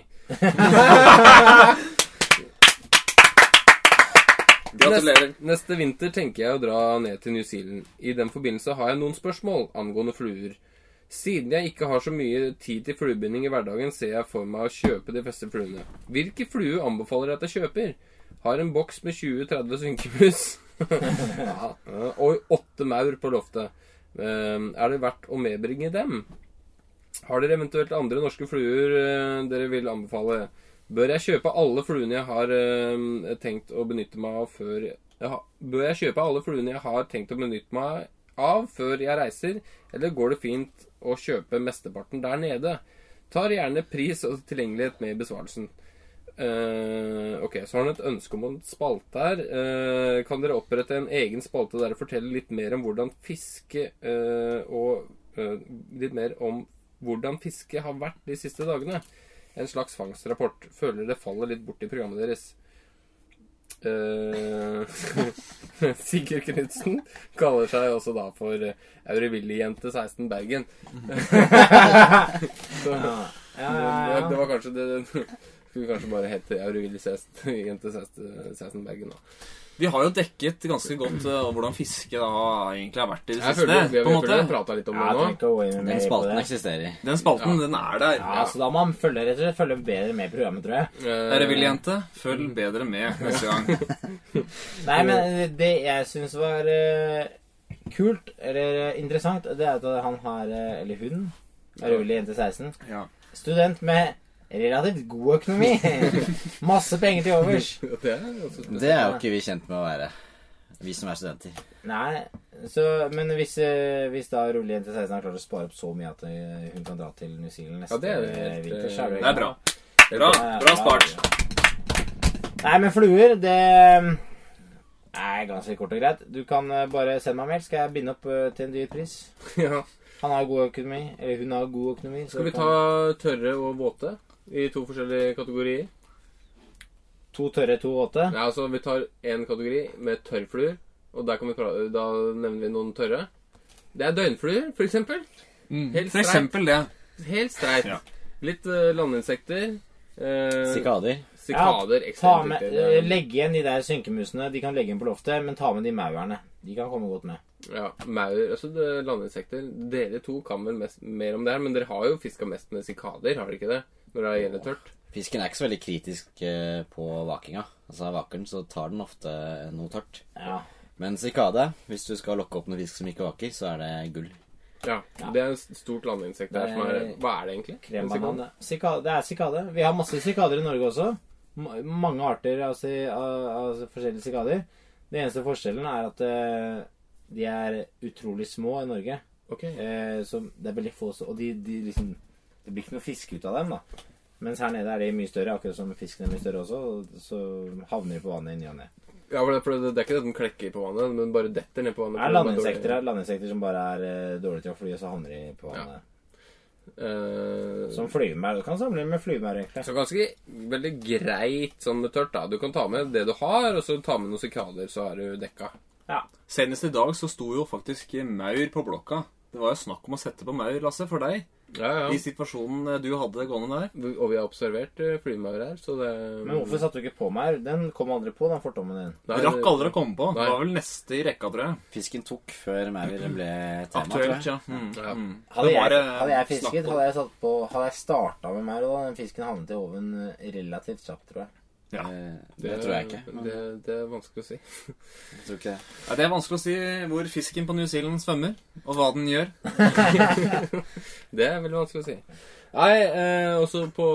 Speaker 5: Gratulerer.
Speaker 1: Neste, neste vinter tenker jeg å dra ned til New Zealand. I den forbindelse har jeg noen spørsmål angående fluer. Siden jeg ikke har så mye tid til fluebinding i hverdagen, ser jeg for meg å kjøpe de fleste fluene. Hvilke flue anbefaler jeg at jeg kjøper? Har en boks med 20-30 synkemus. ja, og åtte maur på loftet. Ehm, Er det verdt å medbringe dem? Har dere eventuelt andre norske fluer eh, dere vil anbefale? Bør jeg kjøpe alle fluene jeg har eh, tenkt å benytte meg av før jeg har- Bør jeg kjøpe alle fluene jeg har tenkt å benytte meg av før jeg reiser, eller går det fint å kjøpe mesteparten der nede? Tar gjerne pris og tilgjengelighet med i besvarelsen. Eh, ok, så har han et ønske om en spalte her. Eh, kan dere opprette en egen spalte der dere forteller litt mer om hvordan fiske eh, og eh, litt mer om hvordan fiske har vært de siste dagene? En slags fangstrapport. Føler det faller litt bort i programmet deres. Eh, Sigurd Knutsen kaller seg også da for eh, Aurevilli-jente 16 Bergen. så,
Speaker 3: Ja,
Speaker 1: det,
Speaker 3: ja, ja,
Speaker 1: var- det
Speaker 3: ja.
Speaker 1: var kanskje det Skulle kanskje bare hete Auril Sassenbergen.
Speaker 5: Vi har jo dekket ganske godt eh, hvordan fiske da egentlig har vært i det
Speaker 1: Jeg føler at vi,
Speaker 5: siste.
Speaker 1: jeg
Speaker 5: på en
Speaker 1: føler vi har
Speaker 5: måte.
Speaker 1: prata litt om
Speaker 3: Jeg
Speaker 1: det nå.
Speaker 3: trenger ikke å gå inn
Speaker 6: Den
Speaker 3: mer på
Speaker 6: spalten
Speaker 3: det.
Speaker 6: eksisterer.
Speaker 5: Den spalten, den er der.
Speaker 3: Ja, så da må man følge, rett og slett, følge bedre med i programmet, tror jeg.
Speaker 5: Dere vil, jente, følg bedre med neste gang.
Speaker 3: Nei, men eh, det jeg syns var eh, kult, eller eh, interessant, det er at han har eh, Eller hun, er rolig jente 16,
Speaker 5: Ja.
Speaker 3: student med relativt god økonomi. Masse penger til overs.
Speaker 1: Eh, det er også spesielt.
Speaker 6: Det er jo ikke vi kjent med å være, vi som er studenter.
Speaker 3: Nei, så, men hvis, eh, hvis da rolig jente 16 har klart å spare opp så mye at eh, hun kan dra til New Zealand neste
Speaker 1: Ja, det er jo helt,
Speaker 3: eh, vinter,
Speaker 1: eh,
Speaker 3: så er det
Speaker 5: Det er bra. Bra, bra spart.
Speaker 3: Nei, men fluer, det eh, er ganske kort og greit. Du kan eh, bare sende meg en mail, skal jeg binde opp eh, til en dyr pris.
Speaker 1: Ja.
Speaker 3: Han har god økonomi. Eller hun har god økonomi. så
Speaker 1: Skal vi
Speaker 3: kan-
Speaker 1: ta tørre og våte i to forskjellige kategorier?
Speaker 3: to tørre, to våte?
Speaker 1: Nei, altså Vi tar én kategori med tørrfluer, og der kan vi pra da nevner vi noen tørre. Det er døgnfluer, for eksempel. Helt
Speaker 5: For
Speaker 1: streit.
Speaker 5: eksempel det.
Speaker 1: Helt streit.
Speaker 5: Ja.
Speaker 1: Litt eh, landinsekter. eh,
Speaker 6: Sikader.
Speaker 1: sikader.
Speaker 3: Ta
Speaker 1: ekstremt
Speaker 3: med,
Speaker 1: viktig.
Speaker 3: eh, legg igjen de der synkemusene. De kan legge inn på loftet, men ta med de maurene. De kan komme godt med.
Speaker 1: Ja, maur, altså det- landinsekter. Dere to kan vel mest, mer om det her, men dere har jo fiska mest med sikader, har dere ikke det? Når det gjelder tørt.
Speaker 6: Fisken er ikke så veldig kritisk eh, på vakinga. Altså Vaker den, så tar den ofte eh, noe tørt.
Speaker 3: Ja.
Speaker 6: Men sikade, hvis du skal lokke opp noen fisk som ikke vaker, så er det gull.
Speaker 1: Ja, Det er et stort landinsekt der som er Hva er det egentlig? En sikade?
Speaker 3: Krembanan. det. Sikade, det er sikade. Vi har masse sikader i Norge også. Ma- Mange arter av, si- av, av forskjellige sikader. Den eneste forskjellen er at eh, de er utrolig små i Norge.
Speaker 1: Ok.
Speaker 3: Eh, så det er veldig få så- Og de, de liksom Det blir ikke noe fiske ut av dem, da. Mens her nede er de mye større, akkurat som fisken er mye større også. og Så havner de på vannet i ny og ne.
Speaker 1: Ja, for det, for det, det er ikke det at den klekker på vannet, men bare detter ned på vannet.
Speaker 3: Det er landinsekter her. Landinsekter som bare er eh, dårlige til å fly, og så havner de på vannet.
Speaker 1: Eh,
Speaker 3: Som flyvemaur. Du kan sammenligne med flyvemaur, egentlig.
Speaker 1: så ganske veldig greit sånn med tørt, da. Du kan ta med det du har, og så ta med noen sikader, så er du dekka.
Speaker 3: Ja.
Speaker 5: Senest i dag så sto jo faktisk maur på blokka. Det var jo snakk om å sette på maur, Lasse, for deg.
Speaker 1: Ja, ja.
Speaker 5: I situasjonen eh, du hadde gående der.
Speaker 1: Og vi har observert eh, flymaur her, så det
Speaker 3: Men hvorfor satte du ikke på maur? Den kom aldri på, den fortommen din.
Speaker 1: Nei,
Speaker 5: Jeg rakk aldri å komme på.
Speaker 1: Nei.
Speaker 5: Det var vel neste i rekka, tror jeg.
Speaker 6: Fisken tok før maur ble tema. tror jeg.
Speaker 5: Aktuelt, ja. Mm.
Speaker 1: Ja.
Speaker 5: Mm.
Speaker 3: Hadde
Speaker 5: Det var,
Speaker 3: jeg,
Speaker 5: eh,
Speaker 3: hadde jeg
Speaker 5: snakk
Speaker 3: fisket,
Speaker 5: om.
Speaker 3: hadde jeg, satt på, hadde jeg starta med maur, da den fisken havnet i oven relativt kjapt, tror jeg.
Speaker 5: Ja.
Speaker 6: Eh, Det tror jeg ikke.
Speaker 1: Det, det er vanskelig å si.
Speaker 6: Jeg tror ikke det.
Speaker 5: Ja, det er vanskelig å si hvor fisken på New Zealand svømmer, og hva den gjør.
Speaker 1: Det er veldig vanskelig å si. Nei, eh, også på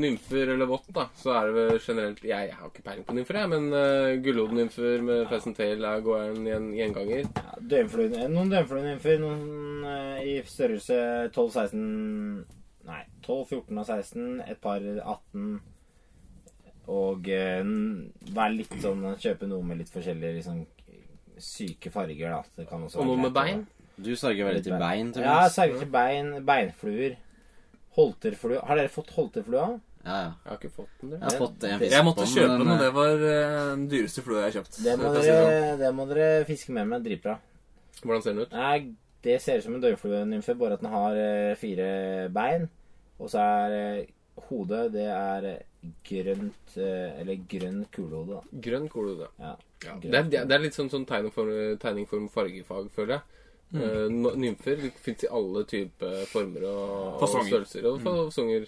Speaker 1: nymfer eller vått, da, så er det vel generelt Jeg, jeg har ikke peiling på nymfer, jeg, men eh, gulrotnymfer med Pheasant Tail er går en gjen, gjenganger.
Speaker 3: Ja, døgnfluene- noen døgnfluenymfer, noen eh, i størrelse 12-16 Nei, 12-14 og 16, et par 18 Og eh, n- vær litt sånn Kjøpe noe med litt forskjellige liksom, syke farger, da. Det kan også
Speaker 1: Og
Speaker 3: være
Speaker 1: noe med
Speaker 3: greit å-
Speaker 1: bein.
Speaker 6: Du sverger veldig til bein,
Speaker 3: Ja,
Speaker 6: Tobias.
Speaker 3: særlig til bein, beinfluer. Holterflue. Har dere fått holterflue? av?
Speaker 6: Ja, ja.
Speaker 1: Jeg har ikke fått den,
Speaker 6: Jeg har fått en fisk
Speaker 5: Jeg måtte
Speaker 6: på
Speaker 5: kjøpe
Speaker 6: men,
Speaker 5: den, og
Speaker 6: eh,
Speaker 5: det var eh, den dyreste flua jeg har kjøpt.
Speaker 3: Det må,
Speaker 5: for å si det sånn.
Speaker 3: dere, det må dere fiske mer med. Dritbra.
Speaker 1: dere. Hvordan ser den ut?
Speaker 3: Nei, det ser ut som en døgnfluenymfe, bare at den har eh, fire bein. Og så er eh, hodet Det er grønt eh, Eller grønn kulehode, da.
Speaker 1: Grønn kolode.
Speaker 3: Ja.
Speaker 1: Ja.
Speaker 3: Grønn
Speaker 1: Det, er, det er litt sånn, sånn tegning for, tegning for fargefag, føler jeg. Eh, no- nymfer fins i alle typer former og, og
Speaker 5: Fasonger.
Speaker 1: størrelser og fasonger.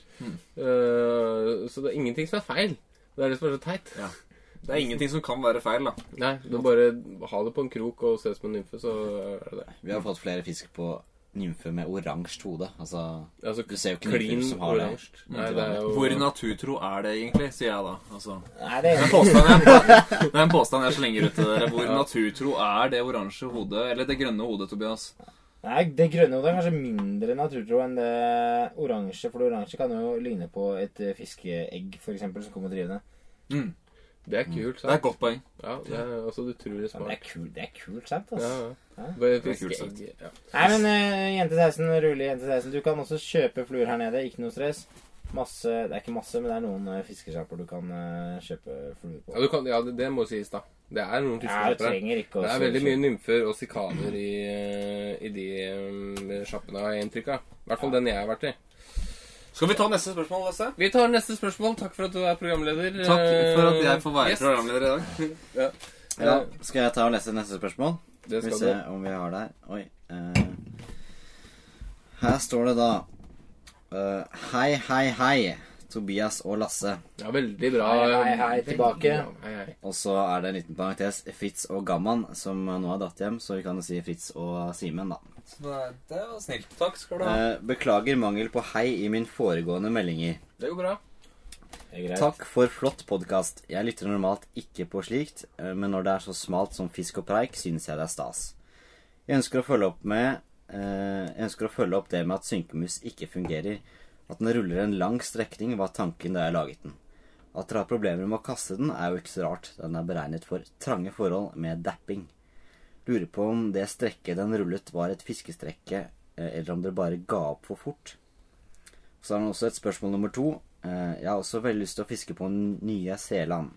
Speaker 1: Eh, så det er ingenting som er feil. Det er det som er så teit.
Speaker 5: Ja. Det er ingenting som kan være feil, da.
Speaker 1: Nei, du bare ha det på en krok og se som en nymfe, så er det det.
Speaker 6: Vi har fått flere fisk på nymfe med oransje hode. Altså,
Speaker 1: Altså,
Speaker 6: du ser jo ikke
Speaker 1: klin
Speaker 6: nymfer som har det.
Speaker 1: oransje. Nei, det er jo
Speaker 5: Hvor naturtro er det egentlig, sier jeg da. Altså,
Speaker 3: Nei, det
Speaker 5: det, er en påstand jeg, det er en påstand jeg slenger ut til dere. Hvor naturtro er det oransje hodet, eller det grønne hodet, Tobias?
Speaker 3: Nei, det grønne hodet er kanskje mindre naturtro enn det oransje. For det oransje kan jo ligne på et eh, fiskeegg, for eksempel, som kommer drivende.
Speaker 1: Det er kult
Speaker 5: Det er
Speaker 1: sagt.
Speaker 5: et godt poeng.
Speaker 1: Ja, det er altså utrolig
Speaker 3: Ja, men det
Speaker 1: smart.
Speaker 3: er kult, det er kult sagt, altså.
Speaker 1: Ja, ja. Bare
Speaker 5: Det er kult
Speaker 1: fiske
Speaker 5: sagt.
Speaker 1: egg. Ja.
Speaker 3: Nei, men eh, jente 16, rolig jente 16. Du kan også kjøpe fluer her nede. Ikke noe stress. Masse, det er ikke masse, men det er noen uh, fiskesjapper du kan eh, kjøpe fluer
Speaker 1: Ja,
Speaker 3: på.
Speaker 1: du kan, ja, det, det må sies, da. Det er noen
Speaker 3: Ja, du
Speaker 1: fiskekjøpere.
Speaker 3: trenger ikke å
Speaker 1: Det er veldig mye nymfer og sikader i, eh, i de um, sjappene, har jeg inntrykk av. I hvert fall den jeg har vært i.
Speaker 5: Skal vi ta neste spørsmål, Lasse?
Speaker 1: Vi tar neste spørsmål. Takk for at du er programleder. eh,
Speaker 5: Eh, Takk for at jeg får være
Speaker 1: Gjest.
Speaker 5: programleder i dag.
Speaker 6: Ja, Eh, skal jeg ta og lese neste spørsmål?
Speaker 1: Det
Speaker 6: Skal vi
Speaker 1: skal
Speaker 6: se
Speaker 1: du.
Speaker 6: om vi har der. Oi. eh. her står det da eh, Hei, hei, hei, Tobias og Lasse.
Speaker 1: Ja, veldig bra.
Speaker 3: Hei, hei, hei, tilbake.
Speaker 1: Hei, hei.
Speaker 6: Og så er det en liten parentes Fritz og Gamman, som nå har dratt hjem. Så vi kan jo si Fritz og Simen, da.
Speaker 5: Det var snilt. Takk skal du ha.
Speaker 6: Eh, beklager mangel på hei i min foregående meldinger.
Speaker 5: Det går bra.
Speaker 3: Det er greit.
Speaker 6: Takk for flott podkast. Jeg lytter normalt ikke på slikt, eh, men når det er så smalt som fisk og preik, synes jeg det er stas. Jeg ønsker å følge opp med eh, Jeg ønsker å følge opp det med at synkemus ikke fungerer. At den ruller en lang strekning var tanken da jeg laget den. At dere har problemer med å kaste den, er jo ikke så rart. Den er beregnet for trange forhold med dapping. Lurer på om det strekket den rullet, var et fiskestrekke, eh, eller om dere bare ga opp for fort. Så er det også et spørsmål nummer to. Eh, Jeg har også veldig lyst til å fiske på nye Seland,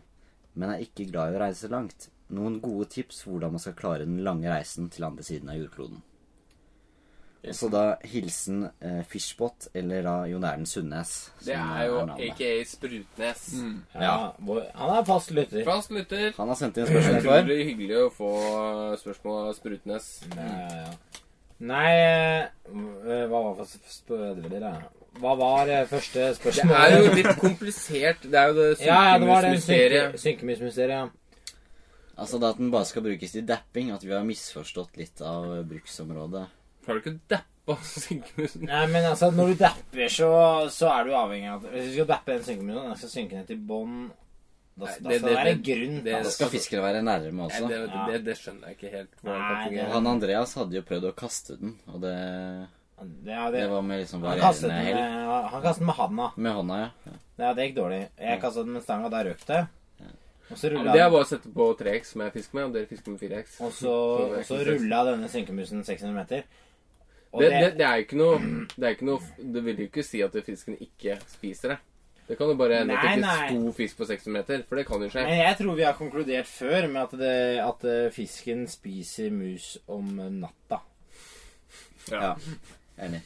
Speaker 6: men er ikke glad i å reise langt. Noen gode tips hvordan man skal klare den lange reisen til andre siden av jordkloden. Og så da hilsen eh, Fishbot, eller da Jon Erlend Sundnes.
Speaker 1: Det
Speaker 6: som eh,
Speaker 1: er jo
Speaker 6: navnet.
Speaker 1: aka Sprutnes.
Speaker 3: Ja, hvor- Han er fast lytter.
Speaker 1: Fast lytter.
Speaker 6: Han har sendt inn spørsmål før.
Speaker 1: Utrolig hyggelig å få spørsmål av Sprutnes.
Speaker 3: Ja, ja. Nei eh, Hva var fast- sp- det der? Hva var eh, første
Speaker 1: Det er jo
Speaker 3: spørsmål?
Speaker 1: litt komplisert. Det er jo det
Speaker 3: Ja, ja, det var det
Speaker 1: synkemusmysteriet.
Speaker 3: synke- synkemusmysteriet.
Speaker 6: Altså da at den bare skal brukes til dapping, at vi har misforstått litt av eh, bruksområdet.
Speaker 1: Har du ikke dappa synkemusen?
Speaker 3: Nei, men altså, når du dapper, så, så er du avhengig av at Hvis du skal dappe en synkemus, da skal synke ned til bånn. Da, da
Speaker 1: Nei,
Speaker 3: skal
Speaker 1: det-
Speaker 3: det, være
Speaker 1: det-
Speaker 3: grunn.
Speaker 1: det-
Speaker 6: Da skal fiskere være nærme
Speaker 1: Nei,
Speaker 6: også.
Speaker 1: det, det, det skjønner jeg ikke helt. hvordan
Speaker 3: Nei,
Speaker 1: kan
Speaker 3: det-
Speaker 1: fungere.
Speaker 6: Han Andreas hadde jo prøvd å kaste den, og det,
Speaker 3: ja, det,
Speaker 6: det var med liksom
Speaker 3: han, kastet
Speaker 6: varierende
Speaker 3: den eh.
Speaker 6: hell.
Speaker 3: med, han kastet den med handa.
Speaker 6: Med hånda, ja.
Speaker 3: Ja, det gikk dårlig. Jeg kastet den med stanga, da røk det. Og så
Speaker 1: Ja,
Speaker 3: rulla
Speaker 1: men Det er
Speaker 3: den.
Speaker 1: bare å sette på 3X som jeg fisker med, og dere fisker med 4X.
Speaker 3: Og så, og så rulla denne synkemusen 600 meter. Og
Speaker 1: Det, det, det er jo ikke noe Det, er ikke noe, det vil jo ikke si at fisken ikke spiser det. Det kan jo bare hende at
Speaker 3: Nei,
Speaker 1: det ikke
Speaker 3: nei.
Speaker 1: sto fisk på 600 meter, for det kan jo skje.
Speaker 3: Men jeg tror vi har konkludert før med at, det, at eh, fisken spiser mus om natta.
Speaker 6: ja. Enig.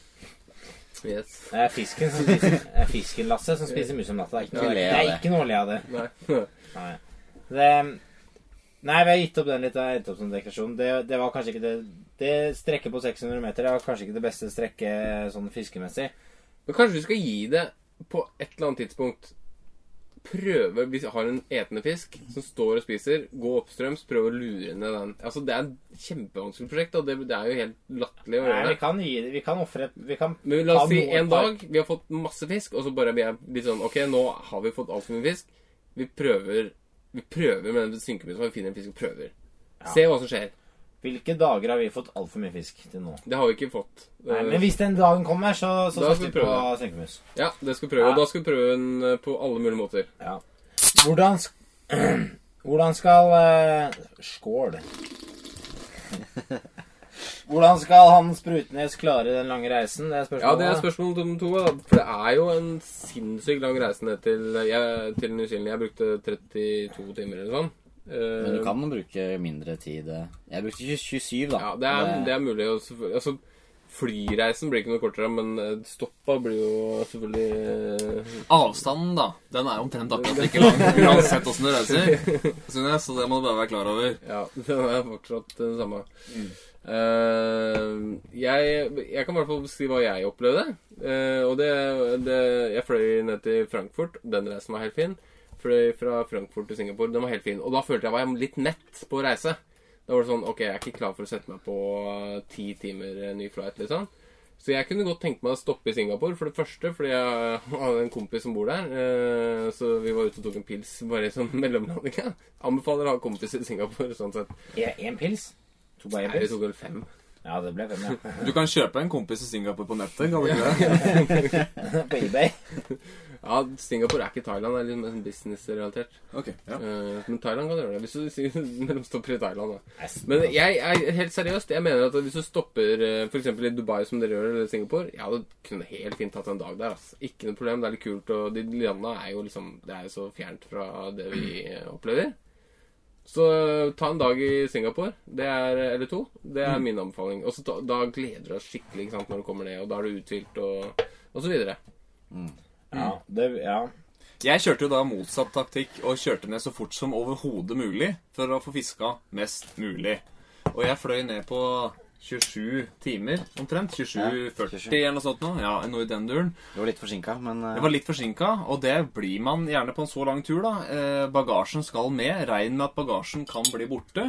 Speaker 1: Yes.
Speaker 3: Det er fisken, som spiser, det er fisken Lasse, som spiser mus om natta. Det er ikke,
Speaker 6: Ikke le
Speaker 3: det
Speaker 6: av
Speaker 3: er
Speaker 6: det.
Speaker 3: ikke noe å le av det.
Speaker 1: Nei.
Speaker 3: Nei. det. Nei, vi har gitt opp den litt. Jeg har gitt opp den dekorasjonen. Det, det var kanskje ikke det Det strekket på 600 meter det var kanskje ikke det beste strekket sånn fiskemessig.
Speaker 1: Men kanskje du skal gi det på et eller annet tidspunkt. Prøve, hvis jeg har en etende fisk som står og spiser, gå oppstrøms, prøv å lure ned den. Altså, Det er et kjempevanskelig prosjekt, og det, det er jo helt latterlig å
Speaker 3: Nei,
Speaker 1: gjøre
Speaker 3: vi
Speaker 1: det.
Speaker 3: kan gi det Vi kan ofre Vi kan
Speaker 1: Men la
Speaker 3: ta
Speaker 1: oss si
Speaker 3: noe
Speaker 1: en
Speaker 3: par-
Speaker 1: dag vi har fått masse fisk, og så bare blir jeg litt sånn Ok, nå har vi fått altfor mye fisk. Vi prøver vi prøver med den synkemusen. Vi finner en fisk og prøver. Se hva som skjer.
Speaker 3: Hvilke dager har vi fått altfor mye fisk til nå?
Speaker 1: Det har vi ikke fått. Eh,
Speaker 3: Nei, men hvis den dagen kommer, så, så
Speaker 1: Da
Speaker 3: skal
Speaker 1: skal
Speaker 3: vi
Speaker 1: vi
Speaker 3: på
Speaker 1: prøve
Speaker 3: senkemus.
Speaker 1: Ja, det skal vi prøve.
Speaker 3: Ja.
Speaker 1: Og da skal vi prøve den eh, på alle mulige måter.
Speaker 3: Ja. Hvordan, sk hvordan skal eh, Skål. Hvordan skal han Sprutnes klare den lange reisen? Det er spørsmålet.
Speaker 1: Ja, det er spørsmål nummer to. Da. For det er jo en sinnssykt lang reise ned til, eh, jeg, til New Zealand. Jeg brukte 32 timer eller sånn. Eh,
Speaker 3: Mm.
Speaker 6: Men du kan bruke mindre tid. eh. Jeg brukte 27, da.
Speaker 1: Ja, det er, det er mulig å selvfølgelig Altså, flyreisen blir ikke noe kortere, men eh, stoppa blir jo selvfølgelig eh,
Speaker 5: Avstanden, da. Den er omtrent akkurat like lang uansett åssen du reiser. Synes, så det må du bare være klar over.
Speaker 1: Ja, den er fortsatt den samme. Eh, jeg, jeg kan i hvert fall si hva jeg opplevde. Eh, og det, det Jeg fløy ned til Frankfurt. Den reisen var helt fin. Fløy fra Frankfurt til Singapore. Den var helt fin. Og da følte jeg var jeg litt nett på å reise. Da var det sånn Ok, jeg er ikke klar for å sette meg på ti timer eh, ny flight, liksom. Så jeg kunne godt tenke meg å stoppe i Singapore, for det første fordi jeg hadde en kompis som bor der. eh, Så vi var ute og tok en pils bare som mellomlanding. ja. Anbefaler å ha kompiser i Singapore, sånn sett.
Speaker 3: Én pils? To bare en
Speaker 1: Nei, vi
Speaker 3: pils?
Speaker 1: tok vel fem.
Speaker 3: Ja, det ble fem, ja.
Speaker 5: Du kan kjøpe en kompis i Singapore på nettet, kan du ikke det?
Speaker 3: På eBay.
Speaker 1: Ja, Singapore er ikke Thailand, det er litt mer sånn business-relatert.
Speaker 5: Ok, ja.
Speaker 1: Eh, Men Thailand kan gjøre det, hvis du sier mellomstopper i Thailand, da.
Speaker 3: Nei, s-
Speaker 1: Men jeg er helt seriøst. Jeg mener at hvis du stopper f.eks. i Dubai, som dere gjør, eller Singapore Jeg hadde kunne helt fint tatt en dag der. Altså. Ikke noe problem. Det er litt kult. Og de landene er jo liksom Det er jo så fjernt fra det vi eh, opplever. Så eh, ta en dag i Singapore, det er, eller to. Det er min anbefaling. Og så ta- Da gleder du deg skikkelig ikke sant, når du kommer ned, og da er du uthvilt og, og så videre.
Speaker 3: Ja, det, ja.
Speaker 5: Jeg kjørte jo da motsatt taktikk og kjørte ned så fort som overhodet mulig for å få fiska mest mulig. Og jeg fløy ned på 27 timer omtrent. 27,40 eller noe sånt nå. Ja, noe i den duren.
Speaker 6: Det var litt forsinka, men eh,
Speaker 5: Jeg var litt forsinka, og det blir man gjerne på en så lang tur, da. Eh, bagasjen skal med. Regn med at bagasjen kan bli borte.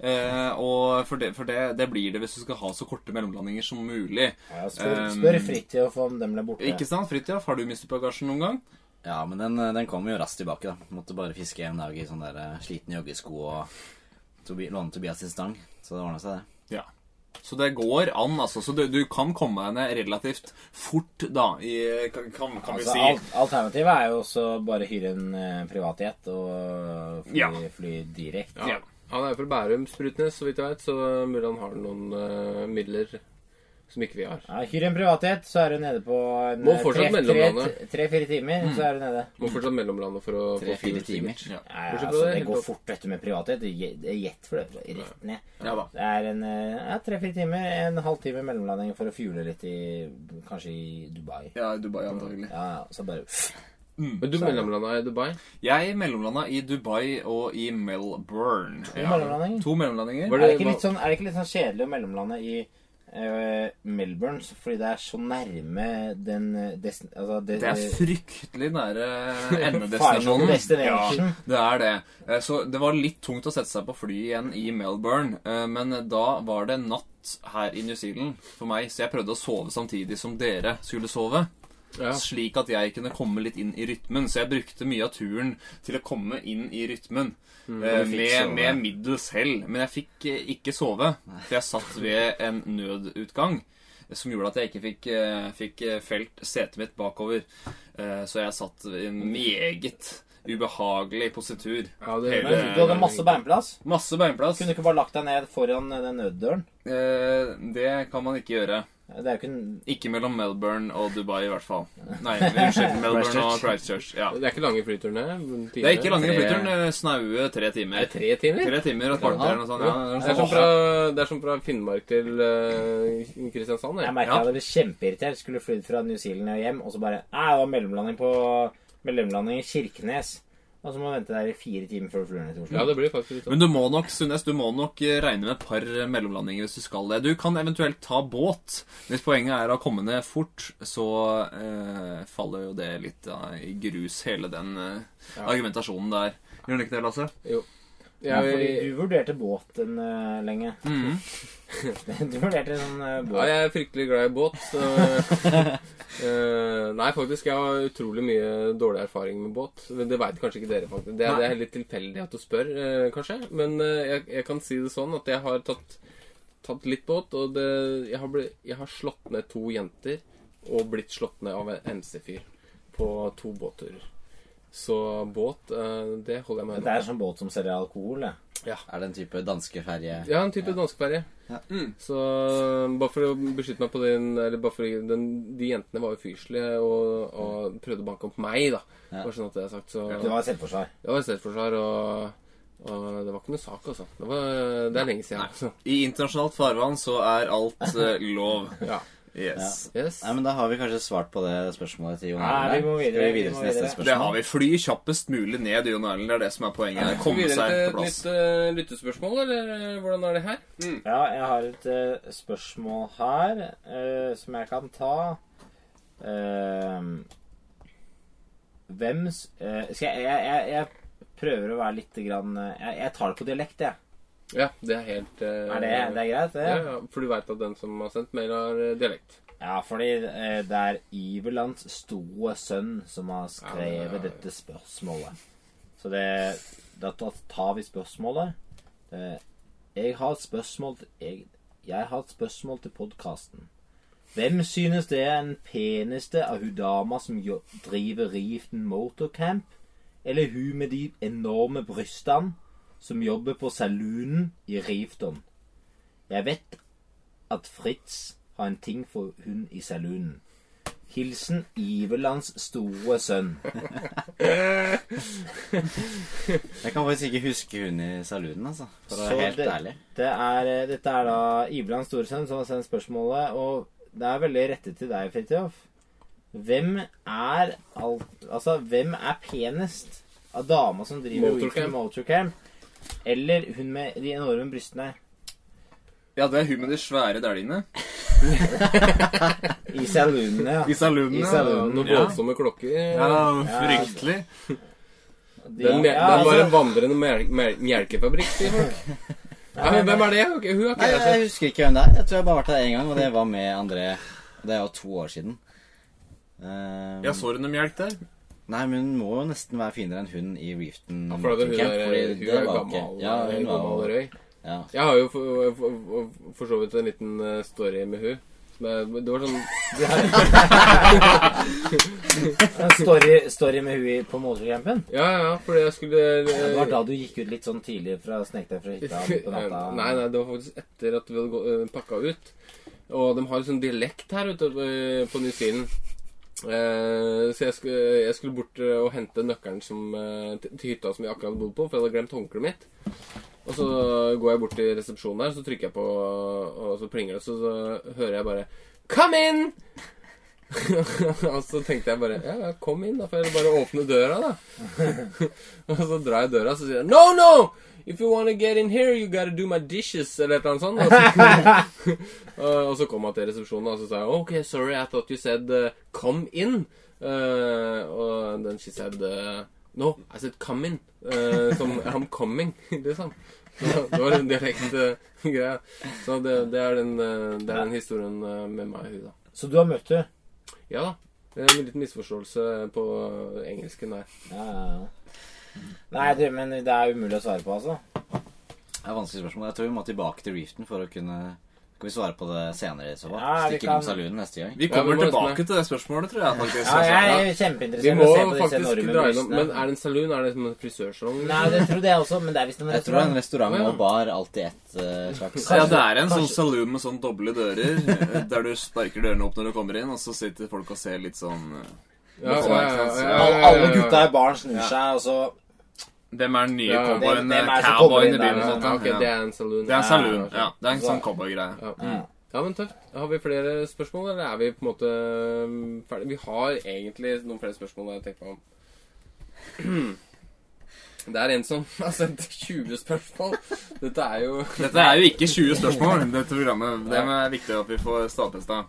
Speaker 5: Eh, og for, det, for det, det blir det hvis du skal ha så korte mellomlandinger som mulig.
Speaker 3: ja spør, spør
Speaker 5: Um,
Speaker 3: Fritid og få om dem ble borte.
Speaker 5: Ikke sant, Fridtjof? Har du mistet bagasjen noen gang?
Speaker 6: Ja, men den, eh, den kom jo raskt tilbake, da. Måtte bare fiske en dag i sånn der eh, sliten joggesko og Tobi, låne Tobias sin stang. Så det ordna seg, det.
Speaker 5: Ja. Så det går an, altså. Så du, du kan komme deg ned relativt fort, da, i, kan, kan kan vi
Speaker 3: Altså,
Speaker 5: si.
Speaker 3: alt, alternativet er jo også bare hyre en eh, privatjet og fly,
Speaker 5: Ja.
Speaker 3: fly direkte.
Speaker 5: Ja.
Speaker 1: Han er fra Bærum Sprutnes, så vidt jeg vet, så mulig han har noen eh, midler som ikke vi har.
Speaker 3: Ja, hyr en privatjet, så er du nede på en,
Speaker 1: Må fortsatt mellomlandet.
Speaker 3: tre-fire timer. Så er du nede.
Speaker 1: Må fortsatt mellomlande for å få
Speaker 6: Tre-fire
Speaker 1: full
Speaker 6: timer.
Speaker 1: sikkert. Bortsett
Speaker 3: Nei,
Speaker 1: fra
Speaker 3: altså,
Speaker 1: det,
Speaker 3: det
Speaker 1: helt
Speaker 3: går
Speaker 1: opp.
Speaker 3: fort, dette med privatjet. Det er jet- det er Jet for det er rett ned.
Speaker 5: Ja da.
Speaker 3: Det er en eh, ja, tre-fire timer, en halvtime mellomlanding for å fuele litt i Kanskje i Dubai.
Speaker 5: Ja, Dubai antagelig.
Speaker 3: Ja, ja, så bare
Speaker 1: Men du mellomlanda i Dubai?
Speaker 5: Jeg mellomlanda i Dubai og i Melbourne. To
Speaker 3: mellomlandinger?
Speaker 5: To mellomlandinger.
Speaker 1: Var
Speaker 3: Er det ikke
Speaker 1: hva-
Speaker 3: litt sånn, er det ikke litt sånn kjedelig å mellomlande i eh, Melbourne så- fordi det er så nærme den eh, destin... Altså, det,
Speaker 5: Det er fryktelig nære endedestinasjonen.
Speaker 3: Final destination.
Speaker 5: det er det. Eh, Så det var litt tungt å sette seg på flyet igjen i Melbourne. eh, Men da var det natt her i New Zealand for meg, så jeg prøvde å sove samtidig som dere skulle sove.
Speaker 1: Ja.
Speaker 5: Slik at jeg kunne komme litt inn i rytmen. Så jeg brukte mye av turen til å komme inn i rytmen. eh,
Speaker 6: Mm, du fikk
Speaker 5: med,
Speaker 6: sove.
Speaker 5: med middels hell. Men jeg fikk eh, ikke sove, for jeg satt ved en nødutgang. Som gjorde at jeg ikke fikk, eh, fikk eh, felt setet mitt bakover. Eh, Så jeg satt i en meget ubehagelig positur.
Speaker 1: Ja, det
Speaker 5: Hele-
Speaker 3: Men eh, Du hadde masse beinplass.
Speaker 5: Masse beinplass.
Speaker 3: Kunne du ikke bare lagt deg ned foran den nøddøren?
Speaker 5: Eh, Det kan man ikke gjøre.
Speaker 3: Det er jo ikke en
Speaker 5: Ikke mellom Melbourne og Dubai, i hvert fall. Nei, unnskyld. Melbourne og Christchurch. Ja.
Speaker 1: Det er ikke lange flyturene? men
Speaker 5: Det er ikke lange
Speaker 6: Tre-
Speaker 5: flyturen. eh, Snaue tre timer.
Speaker 1: Er det tre timer?
Speaker 5: Tre timer og et kvarter eller noe sånt. Ja, sånn
Speaker 1: Det er som fra, det er som fra Finnmark til eh, Kristiansand.
Speaker 3: Jeg
Speaker 1: Ja.
Speaker 5: Ja.
Speaker 3: merket jeg hadde blitt kjempeirritert. Skulle flydd fra New Zealand og hjem, og så bare Nei, det var mellomlanding på mellomlanding i Kirkenes. Og så må du vente der i fire timer før du flyr ned til Oslo.
Speaker 1: ja, det blir faktisk litt sånn.
Speaker 5: Men du må nok Sundnes, du må nok eh, regne med et par eh, mellomlandinger hvis du skal det. Du kan eventuelt ta båt. Hvis poenget er å komme ned fort, så eh, faller jo det litt eh, i grus, hele den eh, argumentasjonen der. Gjør den ikke det, Lasse?
Speaker 3: Ja,
Speaker 1: Jeg,
Speaker 3: fordi du vurderte båten eh, lenge.
Speaker 5: Mhm.
Speaker 3: du vurderte en sånn eh, båt.
Speaker 1: ja, jeg er fryktelig glad i båt. Så, eh, nei, faktisk. Jeg har utrolig mye dårlig erfaring med båt. Men Det veit kanskje ikke dere, faktisk. Det, er- det er litt tilfeldig at du spør, eh, kanskje. Men eh, jeg, jeg kan si det sånn at jeg har tatt, tatt litt båt, og det, jeg, har blitt, jeg har slått ned to jenter og blitt slått ned av en MC-fyr på to båtturer. Så båt, eh, det holder jeg meg
Speaker 3: Det er en sånn båt som selger alkohol, det.
Speaker 6: Er det en type danskeferje
Speaker 1: Ja, en type danskeferje. Så um, bare for å beskytte meg på den Eller bare for å- den, De jentene var jo fyrselige og, og prøvde å banke opp meg, da. Bare sånn at det er sagt. Så
Speaker 3: Det var selvforsvar.
Speaker 1: det var selvforsvar, og, og det var ikke noe sak, altså. Det, var, det er lenge siden. Altså.
Speaker 5: I internasjonalt farvann så er alt eh, lov.
Speaker 1: Ja.
Speaker 5: Yes.
Speaker 1: Yes.
Speaker 6: Nei, men Da har vi kanskje svart på det spørsmålet til Jon
Speaker 3: Nei,
Speaker 6: Arne.
Speaker 3: vi må videre,
Speaker 6: Skal vi
Speaker 3: vi
Speaker 6: videre
Speaker 3: må
Speaker 6: til neste
Speaker 3: videre.
Speaker 6: spørsmål?
Speaker 5: Det har vi. Fly kjappest mulig ned, Jon Erlend. Det er det som er poenget.
Speaker 1: Skal vi
Speaker 5: Komme
Speaker 1: videre
Speaker 5: seg
Speaker 1: til et
Speaker 5: på plass.
Speaker 1: nytt eh, lyttespørsmål, eller eh, hvordan er det her?
Speaker 3: Ja, jeg har et eh, spørsmål her eh, som jeg kan ta. Ehm, hvems eh, Skal jeg jeg, jeg jeg prøver å være litt grann eh, jeg, jeg tar det på dialekt, jeg.
Speaker 1: Ja, det er helt eh,
Speaker 3: Er det, det er greit, det?
Speaker 1: ja, ja, For du veit at den som har sendt mail, har eh, dialekt.
Speaker 3: Ja, fordi eh, det er Iverlands store sønn som har skrevet
Speaker 1: Ja, ja, ja.
Speaker 3: dette spørsmålet. Så det, da ta- tar vi spørsmålet. Eh, jeg har et spørsmål til, jeg, jeg har et spørsmål til podkasten. Hvem synes det er den peneste av hun dama som jo, driver Riften Motorcamp? Eller hun med de enorme brystene som jobber på saloonen i Rifton? Jeg vet at Fritz har en ting for hun i saloonen. Hilsen Iverlands store sønn.
Speaker 6: Jeg kan faktisk ikke huske hun i saloonen, altså. For å
Speaker 3: Så
Speaker 6: være helt
Speaker 3: det-
Speaker 6: ærlig.
Speaker 3: Det er, eh, dette er da Iverlands store sønn som har sendt spørsmålet, og det er veldig rettet til deg, Fridtjof. Hvem er al Altså, hvem er penest av dama som driver
Speaker 1: Motorcamp.
Speaker 3: motorcamp, eller hun med de enorme brystene?
Speaker 5: Ja, det er hun med de svære dælene.
Speaker 3: I saloonene, ja.
Speaker 5: I salunene.
Speaker 3: I salunene.
Speaker 1: Noen
Speaker 5: Ja.
Speaker 1: voldsomme klokker. eh,
Speaker 5: Ja, fryktelig.
Speaker 3: De,
Speaker 1: Den, me-
Speaker 3: ja,
Speaker 1: den var en
Speaker 3: altså,
Speaker 1: vandrende mel- mel- melkefabrikk, sier folk. Nei, men hvem er det? Ok, Hun har
Speaker 6: Nei,
Speaker 1: ikke altså- jeg
Speaker 6: jeg,
Speaker 1: sett.
Speaker 6: jeg husker ikke hvem det er. Jeg tror jeg bare har vært der én gang, og det var med André. Det er jo to år siden. Eh,
Speaker 5: Jeg så henne mjelk der.
Speaker 6: Nei, men hun må jo nesten være finere enn hun i Reefton.
Speaker 1: Ja, For det er hun
Speaker 6: Camp,
Speaker 1: der,
Speaker 6: fordi
Speaker 1: hun
Speaker 6: det
Speaker 1: er
Speaker 6: var jo
Speaker 1: gammel,
Speaker 6: ikke- Ja, hun var
Speaker 1: gammel
Speaker 6: jo
Speaker 1: røy.
Speaker 6: ja.
Speaker 1: Jeg har jo for, for, for, for så vidt en liten eh, story med hun. Som er- Det var sånn
Speaker 3: en story, story med hun i- på motorcampen.
Speaker 1: Ja, ja, fordi jeg skulle eh,
Speaker 3: Det var da du gikk ut litt sånn tidlig fra snek deg fra hytta midt på natta.
Speaker 1: Nei, nei, det var faktisk etter at vi hadde gå- eh, pakka ut. Og de har jo sånn dialekt her ute eh, på New Zealand. Eh, så jeg skulle, jeg skulle bort eh, og hente nøkkelen som, eh, til til hytta som vi akkurat bodde på, for jeg hadde glemt håndkleet mitt. Og så går jeg bort til resepsjonen der, så trykker jeg på, og så plinger det, så, så hører jeg bare 'Come in!' og så tenkte jeg bare Ja, ja, kom inn, da, for jeg bare åpne døra, da. Og så drar jeg døra, så sier jeg No, no! If you wanna get in here, you gotta do my dishes, eller et eller annet sånt. Og så, og så kom han til resepsjonen, og så sa jeg OK, sorry, I thought you said uh, come in. Uh, og then she said uh, No, I said come in. Uh, som I'm coming, liksom. Så Det var en dialektgreie. Uh, greie. så det, det, er den, uh, det er den historien uh, med meg og hun, da.
Speaker 3: Så du har møtt henne?
Speaker 1: Ja da. Det er en liten misforståelse på uh, engelsken der.
Speaker 3: Ja, ja, ja. Nei, du, men det er umulig å svare på, altså.
Speaker 6: Det er vanskelig spørsmål. Jeg tror vi må tilbake til Reefton for å kunne Skal vi svare på det senere i så fall?
Speaker 3: Ja, vi
Speaker 6: Stikke innom
Speaker 3: kan-
Speaker 6: saloonen neste gang.
Speaker 1: Ja,
Speaker 5: Vi
Speaker 1: vi
Speaker 5: kommer
Speaker 1: må
Speaker 5: tilbake
Speaker 1: nesten-
Speaker 5: til det spørsmålet, tror jeg. faktisk.
Speaker 3: Ja, jeg er
Speaker 1: Vi
Speaker 3: kjempeinteressert
Speaker 1: må
Speaker 3: i å se på disse
Speaker 1: faktisk
Speaker 3: enorme
Speaker 1: dra innom Men
Speaker 3: brystene.
Speaker 1: er det en saloon? Er det som en frisørsalong?
Speaker 3: Nei, det trodde jeg også, men det er visst en
Speaker 6: Jeg tror det er en
Speaker 3: restaurant.
Speaker 6: restaurant
Speaker 1: Å, ja.
Speaker 6: og bar alltid ett eh, slags
Speaker 5: Ja, det er en sånn saloon med sånn doble dører, eh, der du sparker dørene opp når du kommer inn, og så sitter folk og ser litt sånn eh,
Speaker 1: Ja,
Speaker 5: Sånn,
Speaker 1: ja, ja,
Speaker 5: sånn,
Speaker 1: ja,
Speaker 5: sånn.
Speaker 1: ja, ja, ja.
Speaker 3: Alle gutta i baren snur seg, altså. og så
Speaker 5: Hvem er den nye
Speaker 1: Ja,
Speaker 5: cowboyen?
Speaker 3: hvem- hvem er det som
Speaker 5: Cowboyen i
Speaker 3: kommer
Speaker 5: byen?
Speaker 3: inn der?
Speaker 5: og sånt,
Speaker 1: Ja, ok,
Speaker 5: ja.
Speaker 1: det er en saloon.
Speaker 5: Det er en saloon.
Speaker 1: Ja,
Speaker 5: Ja, det er en sånn cowboygreie.
Speaker 1: ja. Ja, men tøft. Har vi flere spørsmål, eller er vi på en måte um, ferdig? Vi har egentlig noen flere spørsmål jeg tenker meg om. Det er en som har sendt 20 spørsmål. Dette er jo
Speaker 5: Dette er jo ikke 20 spørsmål, dette programmet. Det er viktig at vi får stadfesta.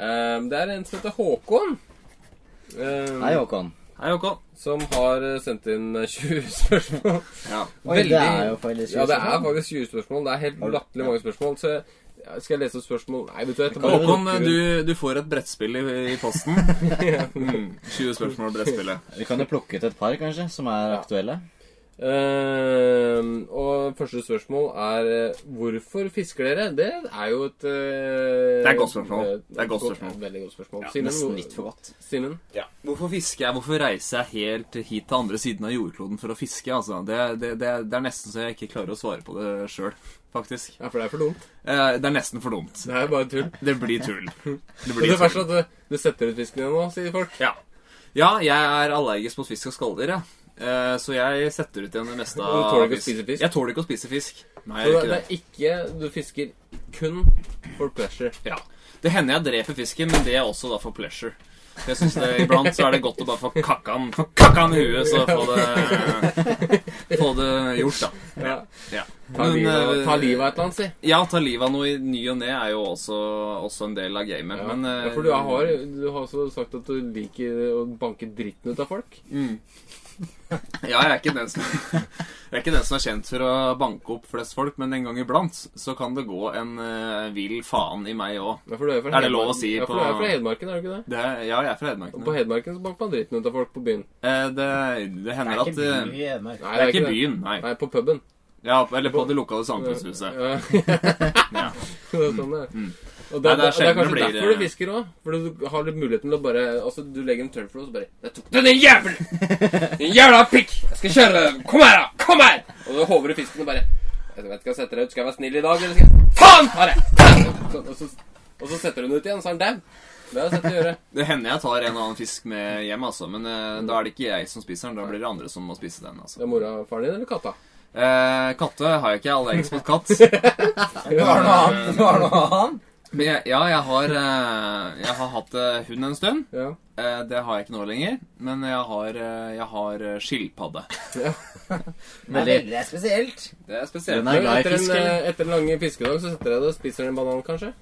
Speaker 1: Um, Det er en som heter Håkon. um,
Speaker 6: Hei, Håkon.
Speaker 5: Hei, OK.
Speaker 1: som har eh, sendt inn eh, 20 spørsmål.
Speaker 5: Ja.
Speaker 6: Oi, det er jo faktisk
Speaker 1: Ja, det er
Speaker 6: 20
Speaker 1: faktisk 20 spørsmål. Det er helt latterlig mange spørsmål. Så ja, skal jeg lese opp spørsmål Nei, vet du etterpå.
Speaker 5: Håkon, eh, du, du får et brettspill i, i posten. Mm, 20 spørsmål brettspillet.
Speaker 6: Vi kan jo plukke ut et par, kanskje, som er aktuelle.
Speaker 1: Ehm, og første spørsmål er eh, Hvorfor fisker dere? Det er jo et eh,
Speaker 5: Det er et godt spørsmål.
Speaker 1: eh,
Speaker 5: Det er et godt spørsmål.
Speaker 1: ja, Veldig godt spørsmål.
Speaker 6: Nesten litt for godt.
Speaker 1: Simen?
Speaker 5: Hvorfor fisker jeg? Hvorfor reiser jeg helt hit til andre siden av jordkloden for å fiske? Altså, det, det, det, det er nesten så jeg ikke klarer å svare på det sjøl, faktisk.
Speaker 1: Ja, for det er for dumt.
Speaker 5: Eh, det er nesten for dumt.
Speaker 1: Det er bare tull.
Speaker 5: Det blir tull. Det
Speaker 1: Men
Speaker 5: blir
Speaker 1: det er verst
Speaker 5: tull.
Speaker 1: at eh, du setter ut fisken igjen nå, sier folk.
Speaker 5: Ja. ja, jeg er allergisk mot fisk og skalldyr, jeg. Eh, Så jeg setter ut igjen det meste
Speaker 1: du
Speaker 5: av
Speaker 1: tåler ikke å spise fisk?
Speaker 5: Jeg tåler ikke å spise fisk.
Speaker 1: Så
Speaker 5: Nei, jeg
Speaker 1: det,
Speaker 5: gjør
Speaker 1: det
Speaker 5: ikke det.
Speaker 1: er ikke Du fisker kun for pleasure.
Speaker 5: Ja. Det hender jeg dreper fisken, men det er også da for pleasure. Jeg synes det, Iblant så er det godt å bare få kakkan få kakkan i huet, så få det, få det gjort, da.
Speaker 1: Ja.
Speaker 5: Ja.
Speaker 1: Ta
Speaker 5: Men,
Speaker 1: livet av
Speaker 5: eh,
Speaker 1: ta livet av et eller annet, si.
Speaker 5: Ja, ta livet av noe i ny og ne er jo også, også en del av gamet.
Speaker 1: Ja.
Speaker 5: Men eh,
Speaker 1: ja, for du har, du har også sagt at du liker å banke dritten ut av folk.
Speaker 5: Ja, jeg er, ikke den som, jeg er ikke den som er kjent for å banke opp flest folk, men en gang iblant så kan det gå en eh, vill faen i meg òg.
Speaker 1: Ja, for du er, fra
Speaker 5: Er det
Speaker 1: Hedmarken.
Speaker 5: lov å si
Speaker 1: ja, for
Speaker 5: på-
Speaker 1: du er fra Hedmarken, er du ikke det?
Speaker 5: Ja, jeg er fra Hedmark.
Speaker 1: Og på Hedmarken så banker man dritten ut av folk på byen.
Speaker 5: Eh, det, det
Speaker 3: Det
Speaker 5: hender
Speaker 3: er
Speaker 5: at
Speaker 3: ikke by
Speaker 5: eh,
Speaker 3: i Hedmark.
Speaker 1: Nei,
Speaker 5: Det er ikke byen, nei.
Speaker 1: Nei, på puben.
Speaker 5: Ja, eller på det lokale samfunnshuset.
Speaker 1: Ja.
Speaker 5: Ja. Mm.
Speaker 1: Det er sånn det er. Og det,
Speaker 5: Nei, det er
Speaker 1: er, det er
Speaker 5: sjelden
Speaker 1: kanskje
Speaker 5: det blir- eh,
Speaker 1: derfor du fisker òg. For du har litt muligheten til å bare Altså, du legger en tørrflå, og så bare Der tok du den jævelen! Din jævla pikk! Jeg skal kjøre deg! Kom her, da! Kom her! Og så håver du fisken og bare Jeg vet ikke, skal jeg sette deg ut? Skal jeg være snill i dag, eller skal jeg Faen! Har jeg! Sånn, og, så, og så setter du den ut igjen, så er den dau. Det har jeg sett deg gjøre.
Speaker 5: Det hender jeg tar en og annen fisk med hjem, altså. Men eh, da er det ikke jeg som spiser den, da blir det andre som må spise den.
Speaker 1: Det
Speaker 5: altså.
Speaker 1: er mora og faren din eller katta?
Speaker 5: Eh, katte har jeg ikke. Jeg er allergisk mot katt.
Speaker 3: Du har noe annet? Du har noe annet?
Speaker 5: Men jeg, ja, jeg har, eh, jeg har hatt eh, hund en stund.
Speaker 1: Ja.
Speaker 5: Eh, Det har jeg ikke nå lenger. Men jeg har, eh, jeg har eh, skilpadde.
Speaker 3: Men det er spesielt.
Speaker 5: Det er spesielt.
Speaker 6: Den er glad i
Speaker 1: etter, en,
Speaker 6: fisk, eller?
Speaker 1: eh, etter en lang fiskedag så setter jeg det og spiser en banan, kanskje.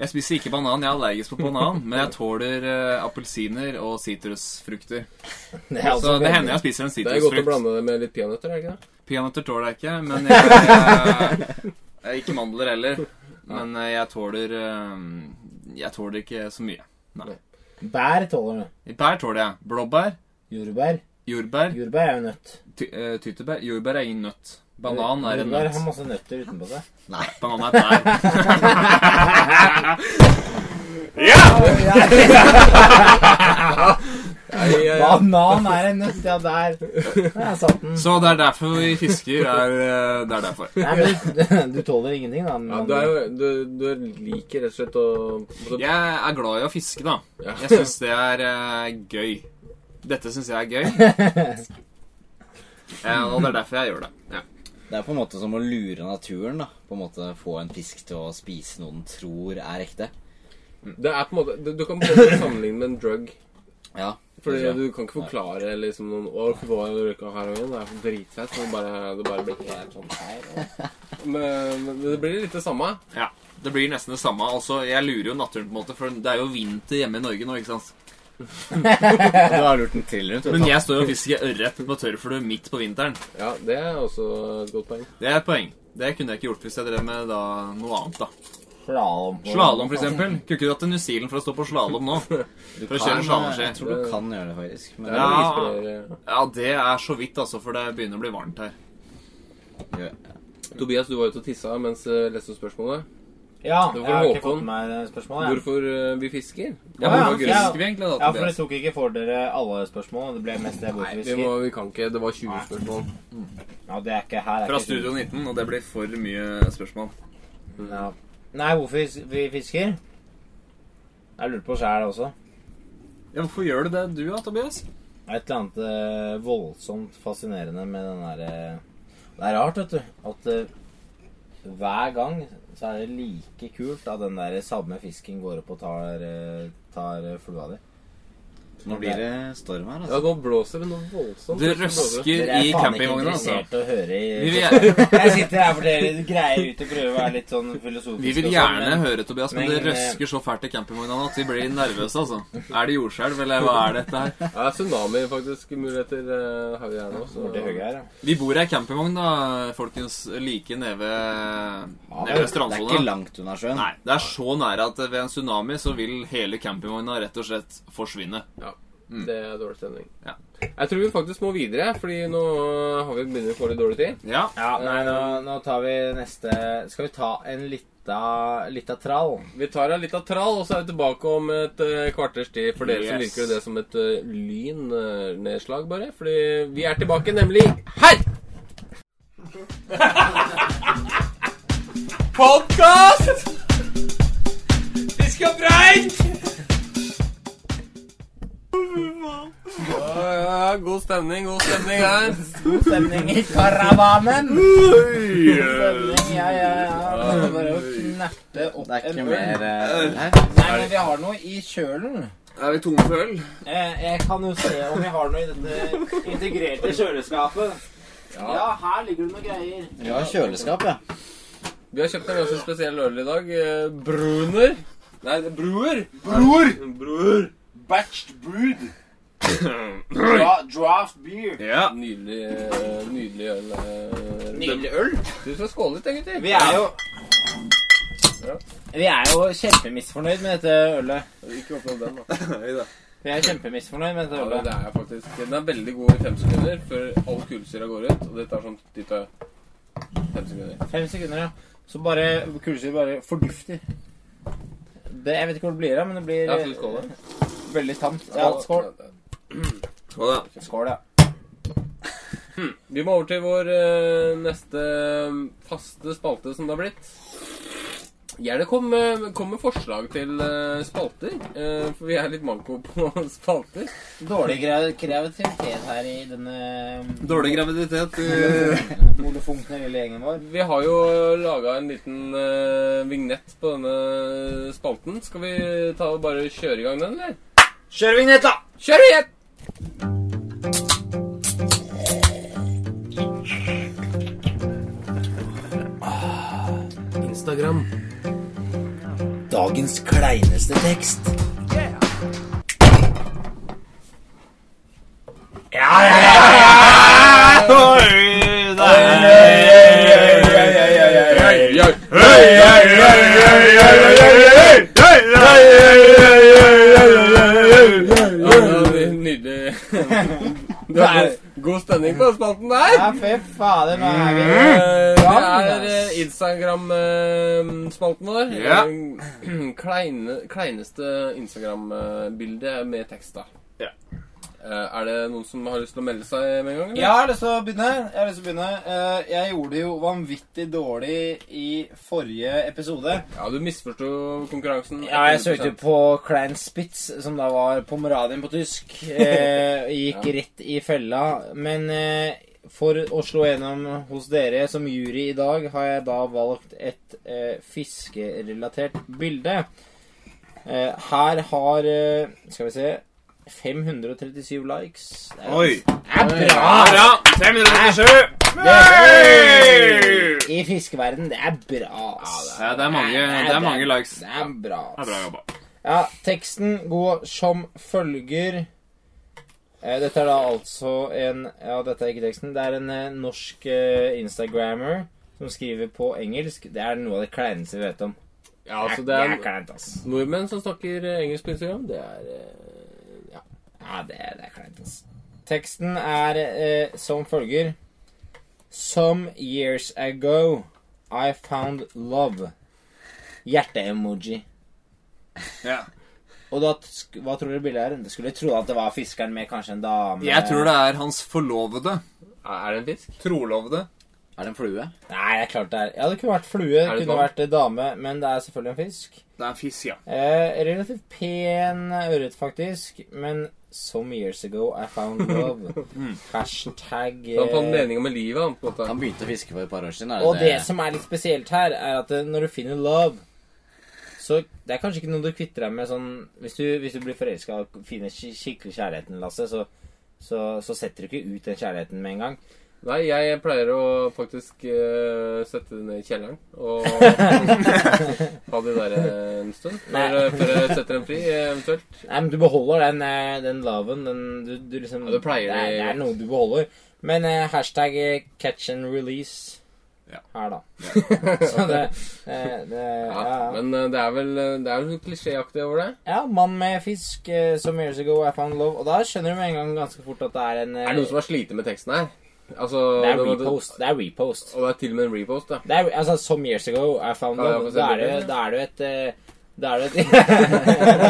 Speaker 5: Jeg spiser ikke banan, jeg er allergisk på banan, men jeg tåler eh, appelsiner og sitrusfrukter.
Speaker 3: Det er
Speaker 5: Så det
Speaker 3: altså veldig-
Speaker 5: hender jeg spiser en
Speaker 1: Det er godt å
Speaker 5: sitrusfrukt.
Speaker 1: blande det med litt peanøtter, er det ikke det?
Speaker 5: Peanøtter tåler jeg ikke, men jeg, jeg, jeg Ikke mandler heller. Men eh, jeg tåler eh, Jeg tåler ikke så mye. Nei.
Speaker 3: Bær tåler det.
Speaker 5: Bær tåler jeg. Blåbær,
Speaker 3: Jordbær.
Speaker 5: jordbær,
Speaker 3: Jordbær er jo nøtt.
Speaker 5: ty, eh, tyttebær Jordbær er ingen nøtt. Banan er en
Speaker 3: Jordbær har
Speaker 5: nøtt.
Speaker 3: masse nøtter utenpå seg.
Speaker 5: Banan er et bær.
Speaker 3: Banan er en nøtt, ja, der. Der satt den.
Speaker 5: Så det er derfor vi fisker. Er, eh, det er derfor.
Speaker 3: Nei, men du, du tåler ingenting, da.
Speaker 1: Ja,
Speaker 3: men-
Speaker 1: du, er jo, du, du liker rett og slett å å-
Speaker 5: Jeg er glad i å fiske, da.
Speaker 1: Ja.
Speaker 5: Jeg syns det er eh, gøy. Dette syns jeg er gøy. Eh, og det er derfor jeg gjør det. Ja.
Speaker 6: Det er på en måte som å lure naturen. da På en måte Få en fisk til å spise noe den tror er ekte.
Speaker 1: Det er på en måte Du, du kan på en måte sammenligne med en drug.
Speaker 6: Ja,
Speaker 1: Fordi
Speaker 6: det tror jeg.
Speaker 1: du kan ikke forklare liksom noen år for hva jeg røyka her og igjen. Det er så dritfett. men bare, det bare blir helt sånn her. og- Men, men det blir litt det samme.
Speaker 5: ja. Det blir nesten det samme. Altså, jeg lurer jo naturen, på en måte, for det er jo vinter hjemme i Norge nå. ikke sant?
Speaker 6: Du har lurt en trill rundt.
Speaker 5: Men jeg står og fisker ørret på tørrflue midt på vinteren.
Speaker 1: Ja, det er også et godt poeng.
Speaker 5: Det er et poeng. Det kunne jeg ikke gjort hvis jeg drev med da, noe annet. da.
Speaker 3: Slalom. på-
Speaker 5: Slalåm, f.eks. Kunne ikke dratt til New Zealand for å stå på slalåm nå. For å kjøre
Speaker 6: jeg
Speaker 5: slalåmski.
Speaker 6: tror du kan gjøre det, faktisk. Men
Speaker 1: Det er
Speaker 5: Ja.
Speaker 1: noe inspirerende.
Speaker 5: Ja, det er så vidt, altså, for det begynner å bli varmt her.
Speaker 6: Gjør-
Speaker 1: Tobias, du var ute og tissa mens jeg leste spørsmålet.
Speaker 3: Ja,
Speaker 1: Det
Speaker 3: jeg
Speaker 1: var
Speaker 3: har ikke
Speaker 1: Håkon.
Speaker 3: fått med det spørsmålet. jeg.
Speaker 1: Hvorfor eh, vi fisker?
Speaker 5: Ja,
Speaker 3: Å,
Speaker 5: Hvorfor
Speaker 3: ja,
Speaker 5: fisker vi egentlig da,
Speaker 3: Ja, for jeg
Speaker 5: Tobias?
Speaker 3: tok ikke for dere alle spørsmålene. Det ble mest det
Speaker 1: Nei,
Speaker 3: hvorfor vi
Speaker 1: vi, må, vi kan ikke. Det var 20 spørsmål.
Speaker 3: Ja, det er ikke her. er
Speaker 5: Fra
Speaker 3: ikke-
Speaker 5: Studio 19, og det blir for mye spørsmål.
Speaker 3: Ja. Nei, hvorfor fis- vi fisker? Jeg lurte på sjæl også.
Speaker 5: Ja, Hvorfor gjør du det, du da, Tobias?
Speaker 3: Det er et eller annet eh, voldsomt fascinerende med den derre Det er rart, vet du, at eh, hver gang så er det like kult at den der samme fisken går opp og tar, eh, tar eh, flua di.
Speaker 6: Nå blir det storm her,
Speaker 1: Ja,
Speaker 6: altså.
Speaker 1: nå blåser det noe voldsomt.
Speaker 5: Det
Speaker 1: blåser.
Speaker 5: røsker
Speaker 3: Dere er
Speaker 5: i
Speaker 3: faen ikke
Speaker 5: campingvogna. altså.
Speaker 3: interessert å høre
Speaker 5: Vi
Speaker 3: i
Speaker 5: vil,
Speaker 3: Jeg sitter her for dere greier ut og prøver å være litt sånn filosofisk.
Speaker 5: vi vil
Speaker 3: og sånn,
Speaker 5: gjerne
Speaker 3: men-
Speaker 5: høre, Tobias, men det
Speaker 3: Men, eh,
Speaker 5: røsker så fælt i campingvogna at vi blir nervøse, altså. Er det jordskjelv, eller hva er dette her?
Speaker 1: Ja, det er tsunami faktisk muligheter eh, har vi her nå. Så.
Speaker 3: Hvor det høye er, ja.
Speaker 5: Vi bor i ei campingvogn, da, folkens. Like nede ved, nede ved
Speaker 6: Det er ikke
Speaker 5: strandsona.
Speaker 6: langt unna sjøen.
Speaker 5: Nei, det er så nære at ved en tsunami så vil hele campingvogna rett og slett forsvinne.
Speaker 1: Ja, det er dårlig stemning.
Speaker 5: Ja.
Speaker 1: Jeg tror vi faktisk må videre, fordi nå eh, har vi begynner å få litt dårlig tid.
Speaker 5: Ja,
Speaker 3: Ja, nei, nå, nå tar vi neste Skal vi ta en lita, lita trall?
Speaker 1: Vi tar en liten trall, og så er vi tilbake om et eh, kvarters tid. For dere så
Speaker 5: Yes.
Speaker 1: virker det som et eh, lynnedslag, bare. Fordi vi er tilbake nemlig her!
Speaker 5: Podkast! Fisk og preik!
Speaker 1: Ja, ja, god stemning, god stemning her.
Speaker 3: God stemning i karavanen! Stemning, ja, ja, ja. Det er Bare å knerte opp
Speaker 6: Det er ikke
Speaker 3: en
Speaker 6: mer
Speaker 3: øl.
Speaker 6: eh, her.
Speaker 3: Nei, men vi har noe i kjølen.
Speaker 5: Er vi tomme for øl?
Speaker 3: Eh, Jeg kan jo se om vi har noe i dette integrerte kjøleskapet. Ja, her ligger det noen greier.
Speaker 6: Vi har kjøleskap, ja.
Speaker 1: Vi har kjøpt en ganske spesiell øl i dag. eh, Bruner. Nei, det er Bruer.
Speaker 7: Bror!
Speaker 1: Bruer.
Speaker 7: Batched brewed. Dra draft beer.
Speaker 5: Ja.
Speaker 1: Nydelig, eh, nydelig øl. eh,
Speaker 3: Nydelig øl.
Speaker 1: Du skal skåle litt, da, gutter.
Speaker 3: Vi er jo Vi er jo kjempemisfornøyd med dette ølet.
Speaker 1: Ikke åpne den, da.
Speaker 3: Vi er kjempemisfornøyd med dette
Speaker 1: Ja, men
Speaker 3: ølet.
Speaker 1: det er jeg faktisk. Den er veldig god i fem sekunder før all kullsyra går ut. Og det tar sånn ditt og fem sekunder.
Speaker 3: Fem sekunder, ja. Så bare kulsyre bare fordufter. Det, jeg vet ikke hvor det blir av, men det blir eh,
Speaker 1: Ja, skal du skåle?
Speaker 3: veldig tamt. Ja, skål.
Speaker 5: Skål, da.
Speaker 3: Skål, ja.
Speaker 1: Vi må over til vår eh, neste mm, faste spalte som det har blitt. Gjerne kom, med- kom med forslag til eh, spalter, eh, for vi er litt manko på spalter.
Speaker 3: Dårlig gra- kreativitet her i denne
Speaker 5: Dårlig graviditet.
Speaker 3: mole- forfungner lille gjengen vår.
Speaker 1: Vi har jo laga en liten eh, vignett på denne spalten. Skal vi ta og bare kjøre i gang den, eller?
Speaker 6: Kjør vignett, da!
Speaker 1: Kjør igjen! Instagram.
Speaker 6: Dagens kleineste tekst.
Speaker 1: Ja, det er Nydelig. Det er god stemning på den spalten der.
Speaker 3: Ja, fy fader, nå er vi
Speaker 6: Mm.
Speaker 1: Eh, Det
Speaker 3: Gammel,
Speaker 1: er
Speaker 3: ass.
Speaker 1: eh, Instagram-spalten vår.
Speaker 5: Ja.
Speaker 1: Eh, Kleine, kleineste Instagram-bilde med tekst, da.
Speaker 5: Ja.
Speaker 1: Eh, Er det noen som har lyst til å melde seg med en gang? eller?
Speaker 3: Jeg har lyst til å begynne. Jeg har lyst til å begynne. Eh, Jeg gjorde det jo vanvittig dårlig i forrige episode.
Speaker 1: ja du misforsto konkurransen.
Speaker 3: Ja, jeg søkte på Klein Spitz, som da var Pomeranien på tysk. Eh, gikk rett i fella. Men eh, for å slå gjennom hos dere som jury i dag, har jeg da valgt et eh, fiskerelatert bilde. Eh, her har eh, Skal vi se 537 likes. Det er-
Speaker 5: Oi.
Speaker 3: Det er bra! altså.
Speaker 5: Ja, 537!
Speaker 3: Det- I fiskeverden, det er bra. ass.
Speaker 5: Ja, det er mange, det er mange likes.
Speaker 3: Det
Speaker 5: Det
Speaker 3: er bra.
Speaker 5: er
Speaker 3: ass.
Speaker 5: bra jobba.
Speaker 3: Ja, teksten går som følger Eh, Dette er da altså en Ja, dette er ikke teksten. Det er en eh, norsk eh, instagrammer som skriver på engelsk. Det er noe av det kleineste vi vet om.
Speaker 1: Ja, altså, det er
Speaker 3: kleint, ass.
Speaker 1: nordmenn som snakker eh, engelsk på Instagram. Det er eh, ja.
Speaker 3: Ja, det, er- det er kleint, ass. Teksten er eh, som følger Some years ago I found love. Hjerte-emoji.
Speaker 5: Ja.
Speaker 3: Og da, sk- hva tror dere bildet er? Dere skulle tro at det var fiskeren med kanskje en dame
Speaker 5: Jeg tror det er hans forlovede.
Speaker 1: Er det en fisk?
Speaker 5: Trolovede.
Speaker 6: Er det en flue?
Speaker 3: Nei, det er klart det er. Ja, det kunne vært flue, det
Speaker 1: det
Speaker 3: kunne
Speaker 1: dam?
Speaker 3: vært eh, dame, men det er selvfølgelig en fisk.
Speaker 5: Det er en fisk, ja.
Speaker 3: Eh, relativt pen ørret, faktisk, men some years ago I found love. Hashtag eh,
Speaker 1: Han fant mening med livet, han. på en måte.
Speaker 6: Han begynte å fiske for et par år siden. Er det
Speaker 3: Og det
Speaker 6: det?
Speaker 3: som er litt spesielt her, er at eh, når du finner love så Det er kanskje ikke noe du kvitter deg med sånn Hvis du, hvis du blir forelska og finner sk- skikkelig kjærligheten, Lasse, så, så, så setter du ikke ut den kjærligheten med en gang.
Speaker 1: Nei, jeg pleier å faktisk eh, sette det ned i kjelleren og ha det der eh, en stund. Før,
Speaker 3: Nei.
Speaker 1: før jeg setter den fri, eh, eventuelt.
Speaker 3: Nei, men du beholder den, eh, den loven. Den, du, du liksom,
Speaker 1: Ja, du pleier
Speaker 3: det. Er,
Speaker 1: det.
Speaker 3: det er noe du beholder. Men eh, hashtag eh, catch and release
Speaker 5: Ja.
Speaker 3: her, da. Så det, eh, det ja,
Speaker 1: Ja,
Speaker 3: ja.
Speaker 1: Men eh, det er vel eh, det er jo noe klisjéaktig over det.
Speaker 3: ja, mann med fisk, eh, some years ago I found love. Og da skjønner du med en gang ganske fort at det er en eh,
Speaker 1: Er det noen som har slitt med teksten her? Altså,
Speaker 3: det er
Speaker 1: var-
Speaker 3: repost. Det er repost.
Speaker 1: Og det er til og med en repost, ja.
Speaker 3: Det er, altså, some years ago I found
Speaker 1: Ja, ja,
Speaker 3: love.
Speaker 1: for
Speaker 3: Da er
Speaker 1: eksempel,
Speaker 3: det-
Speaker 1: ja.
Speaker 3: da er det jo et eh, da er det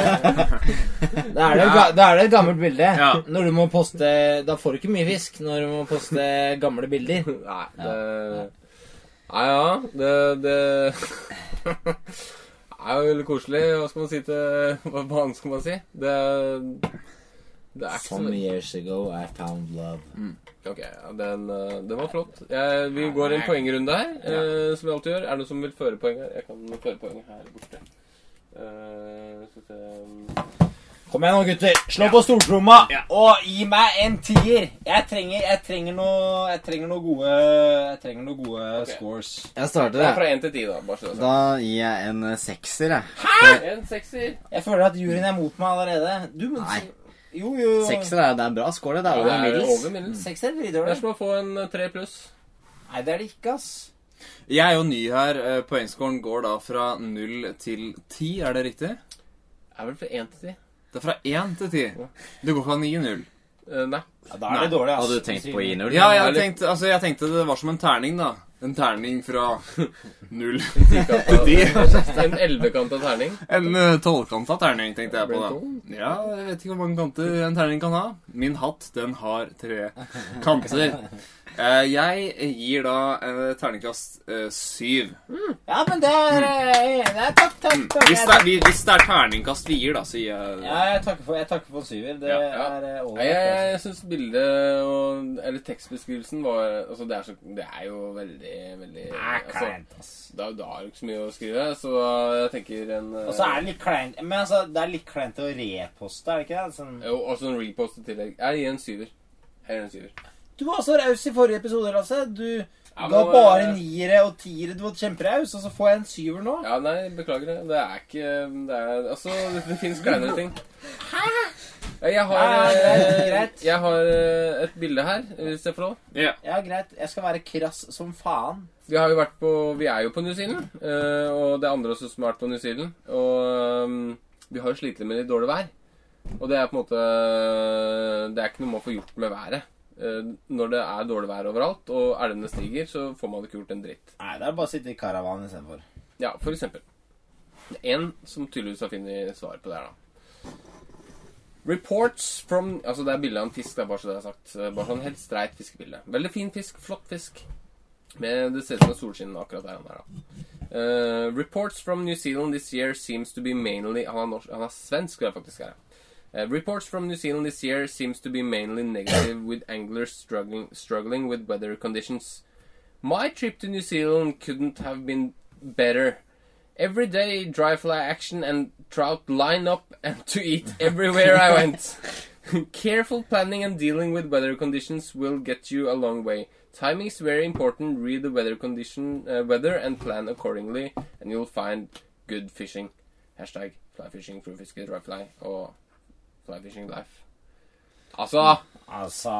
Speaker 3: et Da er det, jo ga- da er det et gammelt bilde.
Speaker 5: Ja.
Speaker 3: Når du må poste Da får du ikke mye fisk når du må poste gamle bilder.
Speaker 1: Nei, det Nei, ja. Det, det er jo veldig koselig. Hva skal man si til Hva hva annet skal man si? Det, det er ikke så
Speaker 3: Some years ago I found love.
Speaker 1: Ok, ja, den, eh, den var flott. Jeg, vi går en poengrunde her, eh, som vi alltid gjør. Er det noen som vil føre poeng her? Jeg kan føre poeng her borte. Eh, skal vi se
Speaker 3: Kom igjen nå, gutter. Slå på stortromma og gi meg en tier. Jeg trenger, jeg trenger, noe, jeg trenger noe gode, jeg trenger noe gode
Speaker 1: Ok.
Speaker 3: scores.
Speaker 6: Jeg
Speaker 1: Det er
Speaker 6: starter, jeg.
Speaker 1: fra 1 til 10, da. bare så det er
Speaker 6: Da gir jeg en eh, sekser, jeg.
Speaker 1: sagt. En sekser.
Speaker 3: Jeg føler at juryen er mot meg allerede. Du, men
Speaker 6: Nei.
Speaker 3: Jo, jo.
Speaker 6: Sekser er, det er bra skål. Det er
Speaker 1: Det
Speaker 6: over
Speaker 1: er
Speaker 6: middels.
Speaker 1: over middels. Mm.
Speaker 3: Sekser er
Speaker 1: Det er
Speaker 3: dritdårlig.
Speaker 1: som å få en eh, tre pluss.
Speaker 3: Nei, det er det ikke, ass.
Speaker 5: Jeg er jo ny her. eh, Poengskåren går da fra 0 til 10, er det riktig?
Speaker 1: Er vel fra 1 til 10?
Speaker 5: Det er fra 1 til 10. Du går fra 9 til 0.
Speaker 1: Eh, nei.
Speaker 3: Ja, da er det dårlig, ass.
Speaker 6: Hadde du tenkt på å gi null?
Speaker 5: Ja, jeg tenkte, altså, jeg tenkte det var som en terning, da. en terning fra null til ti.
Speaker 1: En elvekanta terning.
Speaker 5: En eh, tolvkanta terning, tenkte jeg på da. Ja, jeg vet ikke hvor mange kanter en terning kan ha. Min hatt, den har tre kanter. Eh, Jeg gir da eh, terningkast eh, syv.
Speaker 3: Ja, men det er,
Speaker 1: Mm.
Speaker 3: eh, det er Takk, takk. takk.
Speaker 5: Hvis
Speaker 3: Jeg-
Speaker 5: det, er, hvis det er terningkast vi gir, da, så gir
Speaker 3: Ja,
Speaker 5: jeg
Speaker 3: jeg takker for, jeg takker for en syver. Det
Speaker 1: ja.
Speaker 3: er
Speaker 1: Nei,
Speaker 3: eh, ålreit.
Speaker 1: jeg,
Speaker 3: altså.
Speaker 1: jeg syns bildet og Eller tekstbeskrivelsen var Altså, det er, så, det er jo veldig, veldig altså, Det er jo da er det ikke så mye å skrive, så jeg tenker en eh,
Speaker 3: Og så er det litt kleint Men altså, det er litt kleint å reposte, er det ikke det? Sånn.
Speaker 1: eh, Jo, også en repost i tillegg. Jeg gir en syver. Jeg gir en syver.
Speaker 3: Du var så raus i forrige episode, Lasse. Du
Speaker 1: men
Speaker 3: ga
Speaker 1: nå,
Speaker 3: bare
Speaker 1: eh,
Speaker 3: niere og tiere. Du var kjemperaus, og så får jeg en syver nå.
Speaker 1: Ja, nei, beklager det. Det er ikke det er, Altså, det, det fins kleinere ting. Hæ? Jeg har,
Speaker 3: Ja, ja, greit,
Speaker 1: eh,
Speaker 3: greit.
Speaker 1: jeg har eh, et bilde her, hvis jeg får lov.
Speaker 3: Ja, greit. Jeg skal være krass som faen.
Speaker 1: Vi har jo vært på Vi er jo på New Zealand, eh, og det er andre også som har vært på New Zealand. Og ehm, vi har jo slitt litt med litt dårlig vær. Og det er på en måte eh, Det er ikke noe man får gjort med været. Eh, når det er dårlig vær overalt, og elvene stiger, så får man ikke gjort en dritt.
Speaker 3: Nei, det er bare å sitte i karavanen istedenfor.
Speaker 1: Ja, for eksempel. Det er en som tydeligvis har funnet svaret på det her, da. Reports from Altså, det er bilde av en fisk, det er bare så det er sagt. Eh, Bare sånn helt streit fiskebilde. Veldig fin fisk. Flott fisk. Med, det ser ut som en solskinn akkurat der han er, da. Eh, reports from New Zealand this year seems to be mainly Han er, norsk, han er svensk, det er faktisk her. Uh, reports from New Zealand this year seems to be mainly negative, with anglers struggling, struggling with weather conditions. My trip to New Zealand couldn't have been better. Every day, dry fly action and trout line up and to eat everywhere I went. Careful planning and dealing with weather conditions will get you a long way. Timing is very important. Read the weather condition, uh, weather, and plan accordingly, and you'll find good fishing. Hashtag fly fishing, through fiske, dry fly, og fly fishing life. Altså,
Speaker 3: Altså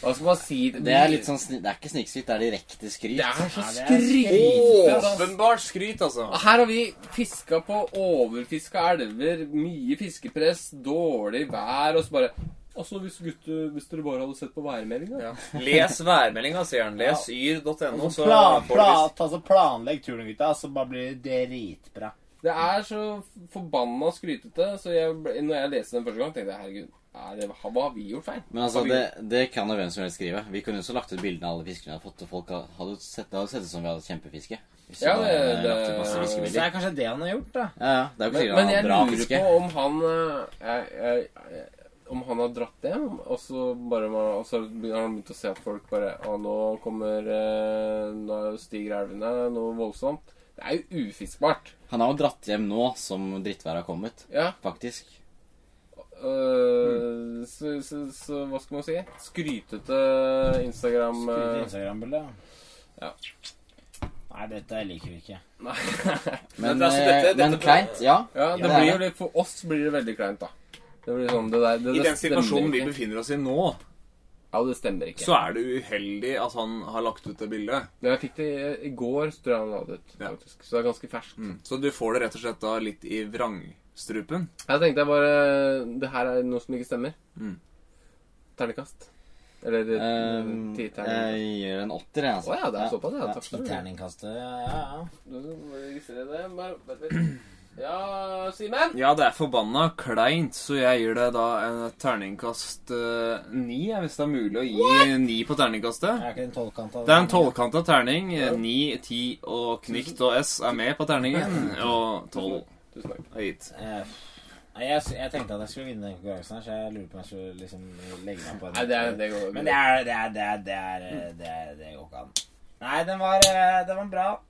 Speaker 1: hva skal man si?
Speaker 6: Det er litt sånn sni- Det er ikke snikskryt, det er direkte skryt.
Speaker 1: Det er så
Speaker 3: det er
Speaker 1: skrytete. ass.
Speaker 5: Åpenbart skryt, altså.
Speaker 1: Og Her har vi fiska på overfiska elver, mye fiskepress, dårlig vær, og så bare Altså, hvis gutter, hvis dere bare hadde sett på værmeldinga ja.
Speaker 5: Les værmeldinga, sier han. Les yr.no, så
Speaker 3: plan,
Speaker 5: får du
Speaker 3: plan, altså, Planlegg turen, gutta, så bare blir det dritbra.
Speaker 1: Det er så forbanna skrytete, så jeg, ble- når jeg leste den første gang, tenkte jeg herregud, er det, hva har vi gjort feil?
Speaker 6: Men altså,
Speaker 1: Har vi-
Speaker 6: det, det kan jo hvem som helst skrive. Vi kunne jo også lagt ut bildene av alle fiskene vi hadde fått, og folk ha- hadde jo sett, det hadde sett ut som vi hadde kjempefiske. Hvis vi
Speaker 1: Ja,
Speaker 6: hadde
Speaker 1: det- det-
Speaker 6: lagt ut masse
Speaker 3: Så det
Speaker 6: fiskebilder.
Speaker 3: er kanskje det han har gjort, da.
Speaker 6: Ja, ja. Det er jo ikke
Speaker 1: Men,
Speaker 6: sikkert
Speaker 1: men
Speaker 6: han
Speaker 1: jeg
Speaker 6: har bra
Speaker 1: lurer
Speaker 6: fiske.
Speaker 1: på om han eh, jeg, jeg, jeg, Om han har dratt hjem, og så bare man- og så har han begynt å se at folk bare Å, nå kommer eh, Nå stiger elvene noe voldsomt. Det er jo ufiskbart.
Speaker 6: Han har jo dratt hjem nå som drittværet har kommet,
Speaker 1: Ja.
Speaker 6: faktisk.
Speaker 1: øh, så, så, så hva skal man si? Skrytete Instagram
Speaker 3: Skryt i
Speaker 1: eh,
Speaker 3: Instagram-bildet.
Speaker 1: Ja.
Speaker 3: Nei, dette liker vi ikke.
Speaker 1: Nei.
Speaker 6: Men,
Speaker 5: det er så dette-
Speaker 6: eh, men
Speaker 5: dette-
Speaker 6: kleint, ja.
Speaker 1: Ja, det
Speaker 6: det er
Speaker 1: blir jo
Speaker 6: det.
Speaker 1: litt For oss blir det veldig kleint, da. Det blir sånn, det der, det,
Speaker 5: I
Speaker 1: det
Speaker 5: den situasjonen vi
Speaker 1: stemmer ikke.
Speaker 5: befinner oss i nå,
Speaker 1: Ja, det stemmer ikke.
Speaker 5: så er det uheldig at han har lagt ut det bildet.
Speaker 1: Ja, Jeg fikk det i- i går, tror jeg han la det ut.
Speaker 5: Ja. Mm.
Speaker 1: faktisk. Så det er ganske ferskt.
Speaker 5: Så du får det rett og slett da litt i vrangstrupen.
Speaker 1: Jeg tenkte jeg bare Det her er noe som ikke stemmer.
Speaker 5: Mm.
Speaker 1: Ternekast. Eller
Speaker 6: Um,
Speaker 1: um, ti terninger.
Speaker 6: jeg gir en åtter, jeg,
Speaker 1: Å
Speaker 6: altså.
Speaker 1: ja, det er såpass, ja.
Speaker 3: Ja,
Speaker 1: Takk skal du ha.
Speaker 3: Titerningkastet, ja, ja.
Speaker 1: Du må registrere det. Bare- bare- bare- Ja, Simen?
Speaker 5: Ja, det er forbanna kleint, så jeg gir det da en terningkast eh, ni, jeg, hvis det er mulig å gi ni på terningkastet.
Speaker 3: Er ikke den tolvkanta
Speaker 5: Det er en tolvkanta terning. eh, Ni, ti og Knikt og S er med på terningen. Og tolv
Speaker 1: Tusen takk.
Speaker 5: er gitt.
Speaker 3: Eh, Nei, jeg, jeg tenkte at jeg skulle vinne den konkurransen her, så jeg lurer på om jeg skulle liksom legge meg på en
Speaker 1: Nei, det, er, det går
Speaker 3: Men det er det er, det er, det er, eh, det er, det går ikke an. Nei, den var, eh, den var bra.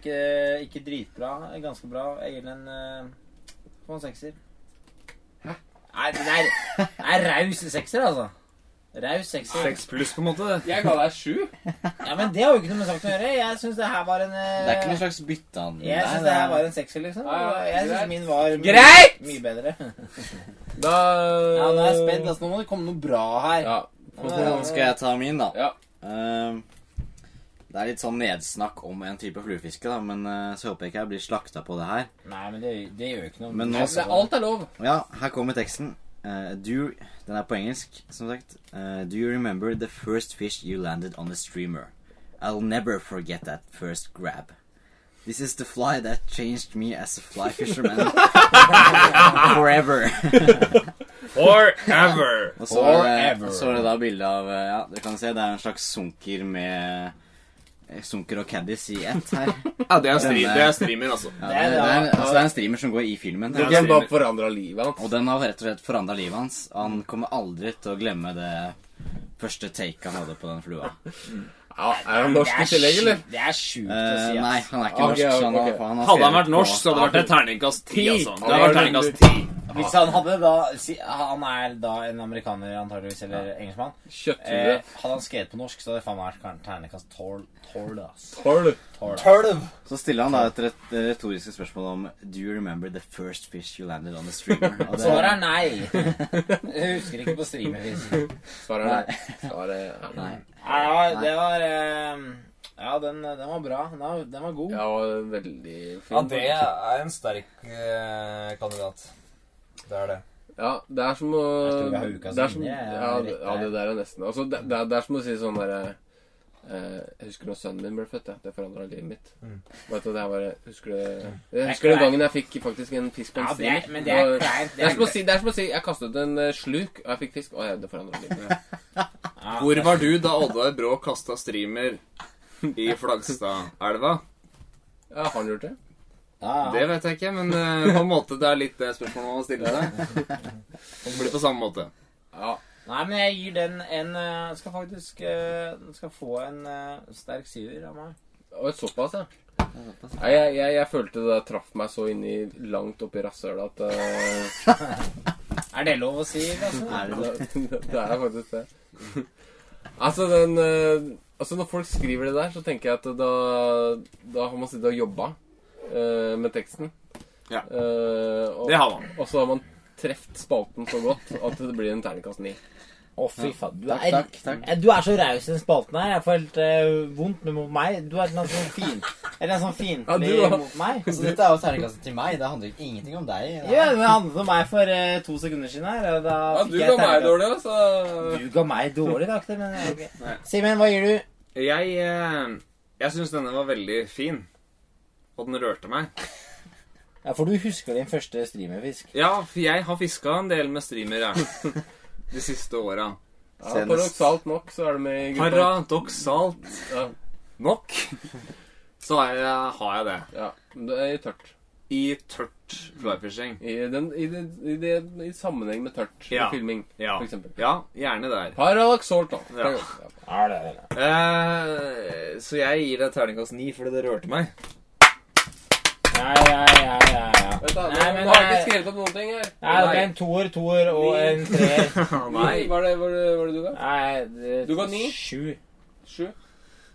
Speaker 3: Ikke, ikke dritbra, ganske bra. Jeg gir den en eh, på en sekser. Nei, det er, det er raus sekser, altså. Raus sekser.
Speaker 5: Seks pluss, på en måte.
Speaker 1: Jeg ga deg sju.
Speaker 3: Ja, men det har jo ikke noe med saken å gjøre. Jeg syns det her var en eh,
Speaker 6: Det er ikke noe slags byttehandel.
Speaker 3: Jeg syns det her var en sekser, liksom.
Speaker 1: Ja, ja,
Speaker 3: Jeg
Speaker 1: greit.
Speaker 3: syns min var mye-
Speaker 1: Greit!
Speaker 3: mye bedre.
Speaker 1: Da
Speaker 3: Ja, nå er jeg spent. Altså, nå må det komme noe bra her.
Speaker 1: Ja.
Speaker 6: Hvordan skal jeg ta min, da?
Speaker 1: Ja.
Speaker 6: Ehm, det er litt sånn nedsnakk om en type fluefiske, da, men eh, så håper jeg ikke jeg blir slakta på det her.
Speaker 3: Nei, men det, det gjør ikke noe.
Speaker 6: Men nå
Speaker 1: Det er, alt er lov.
Speaker 6: Ja, her kommer teksten. Eh, do, den er på engelsk, som sagt. Eh, do you remember the first fish you landed on the streamer? I'll never forget that first grab. This is the fly that changed me as a fly fisherman forever.
Speaker 5: Forever!
Speaker 6: Og så, er det-
Speaker 3: Forever.
Speaker 6: og så er det da bilde av eh, Ja, du kan se det er en slags sunker med eh, Sunker og caddies i ett her.
Speaker 5: Ja, det er, stream, det er streamer, altså.
Speaker 6: Ja, det, det, er, altså, det er en streamer som går i filmen.
Speaker 5: Det er
Speaker 1: Den bare forandra livet hans.
Speaker 6: Og den har rett og slett forandra livet hans. Han kommer aldri til å glemme det første take han hadde på den flua.
Speaker 1: Ja, er han norsk i tillegg, eller?
Speaker 3: Det er sjukt å
Speaker 6: Eh,
Speaker 3: si, ass.
Speaker 6: nei, han er ikke
Speaker 1: Ok,
Speaker 6: norsk. Så han,
Speaker 1: ok.
Speaker 6: har- han har
Speaker 5: Hadde han
Speaker 6: skrevet
Speaker 5: vært norsk,
Speaker 6: på-
Speaker 5: så hadde det vært et terningkast ti. Altså. Det hadde vært terningkast ti.
Speaker 3: Hvis han hadde da si, Han er da en amerikaner, antageligvis, eller engelskmann. Eh,
Speaker 1: Kjøtthue.
Speaker 3: hadde han skrevet på norsk, så hadde det faen vært kan- ternekast tolv. tolv, ass.
Speaker 1: Tolv.
Speaker 3: Tolv.
Speaker 6: Så stiller han da et ret- retoriske spørsmål om Do you remember the first fish you landed on the streamer? Og det-
Speaker 3: Svaret er nei. Jeg husker ikke på streamervis.
Speaker 1: Svaret er nei. Svaret er nei.
Speaker 6: Nei.
Speaker 3: Ja, det var eh, Ja, den, den var bra. Den var, den var god.
Speaker 1: Ja, veldig fin.
Speaker 8: Ja, det er en sterk eh, kandidat. Det er det.
Speaker 1: Ja, det er som å
Speaker 3: Jeg tror vi har ukas
Speaker 1: det er som,
Speaker 3: vinner,
Speaker 1: ja,
Speaker 3: jeg er
Speaker 1: det-
Speaker 3: rett
Speaker 1: ja,
Speaker 3: der.
Speaker 1: det der er nesten Altså, det, det, er, det er som å si sånn derre eh, Jeg husker når sønnen min ble født, jeg. Det forandra livet mitt. Vet du, det er bare, husker du, jeg husker den gangen jeg fikk faktisk en fisk på en
Speaker 3: Ja, det er-
Speaker 1: streamer.
Speaker 3: men det er
Speaker 1: Og-
Speaker 3: kleint, det
Speaker 1: Det er
Speaker 3: er
Speaker 1: som å si, det er som å si jeg kastet en eh, sluk, og jeg fikk fisk. Å ja, det forandra livet mitt.
Speaker 5: Hvor var du da Oddvar Brå kasta streamer i Flagstad-elva?
Speaker 1: Ja, har han gjort det?
Speaker 3: Ja, ja.
Speaker 5: Det vet jeg ikke, men eh, på en måte det er litt det spørsmålet man må stille seg. Det blir på samme måte.
Speaker 1: Ja.
Speaker 3: Nei, men jeg gir den en eh, Den skal faktisk eh, Den skal få en eh, sterk syver av meg.
Speaker 1: Og såpass, ja. Nei, jeg, jeg, jeg følte det traff meg så inn i langt oppi rasshølet at eh,
Speaker 3: Er det lov å si? Lasse?
Speaker 6: Er det det?
Speaker 1: det, det er faktisk det. Altså, den eh, Altså, når folk skriver det der, så tenker jeg at da, da har man sittet og jobba eh, med teksten.
Speaker 5: Ja.
Speaker 1: Eh, og,
Speaker 5: Det har man.
Speaker 1: og så har man treft spalten så godt at det blir en terningkast ni.
Speaker 3: Å, fy faen. Du
Speaker 6: Takk, takk, takk.
Speaker 3: Eh, Du er så raus i den spalten her. Jeg får helt eh, vondt med mot meg. Du er en eller annen sånn fin Eller en sånn fiendtlig
Speaker 1: Ja, du, da.
Speaker 3: mot meg. Altså,
Speaker 8: Så dette er jo terningkastet til meg. Det handler ikke ingenting om deg.
Speaker 3: Ja, det handlet om meg for eh, to sekunder siden her. og Da
Speaker 1: Ja,
Speaker 3: fikk
Speaker 1: du ga
Speaker 3: jeg
Speaker 1: meg
Speaker 3: terningkast-
Speaker 1: dårlig, altså.
Speaker 3: Du ga meg dårlig karakter, men ok. Simen, hva gir du?
Speaker 5: Jeg, eh, jeg syns denne var veldig fin. Og den rørte meg.
Speaker 3: Ja, For du husker din første streamerfisk.
Speaker 5: Ja, for jeg har fiska en del med streamere de siste åra.
Speaker 1: Ja,
Speaker 6: Senest.
Speaker 1: Paradoksalt nok så er du med i gruppa.
Speaker 5: Paradoksalt
Speaker 1: Ja,
Speaker 5: nok så har jeg, har jeg det.
Speaker 1: ja. Det er tørt.
Speaker 5: I tørt flyfishing.
Speaker 1: I, den, i, det, i, det, I sammenheng med tørt
Speaker 5: Ja.
Speaker 1: og filming,
Speaker 5: Ja.
Speaker 1: for eksempel.
Speaker 5: ja, gjerne der.
Speaker 1: Paradoksalt, da.
Speaker 5: Ja.
Speaker 3: Ja, det er det.
Speaker 5: Eh, så jeg gir deg terningkast ni fordi det rørte meg.
Speaker 3: Ja, ja, ja, ja, ja.
Speaker 1: Vent da,
Speaker 3: Nei, men
Speaker 1: Nå har jeg ikke
Speaker 3: det er-
Speaker 1: skrevet opp noen ting her.
Speaker 3: Nei, det ble en toer, toer og en treer.
Speaker 1: Nei. Hva er det, hva er det, hva er det du ga?
Speaker 3: Nei, det,
Speaker 1: Du ga ni?
Speaker 3: Sju.
Speaker 1: Sju?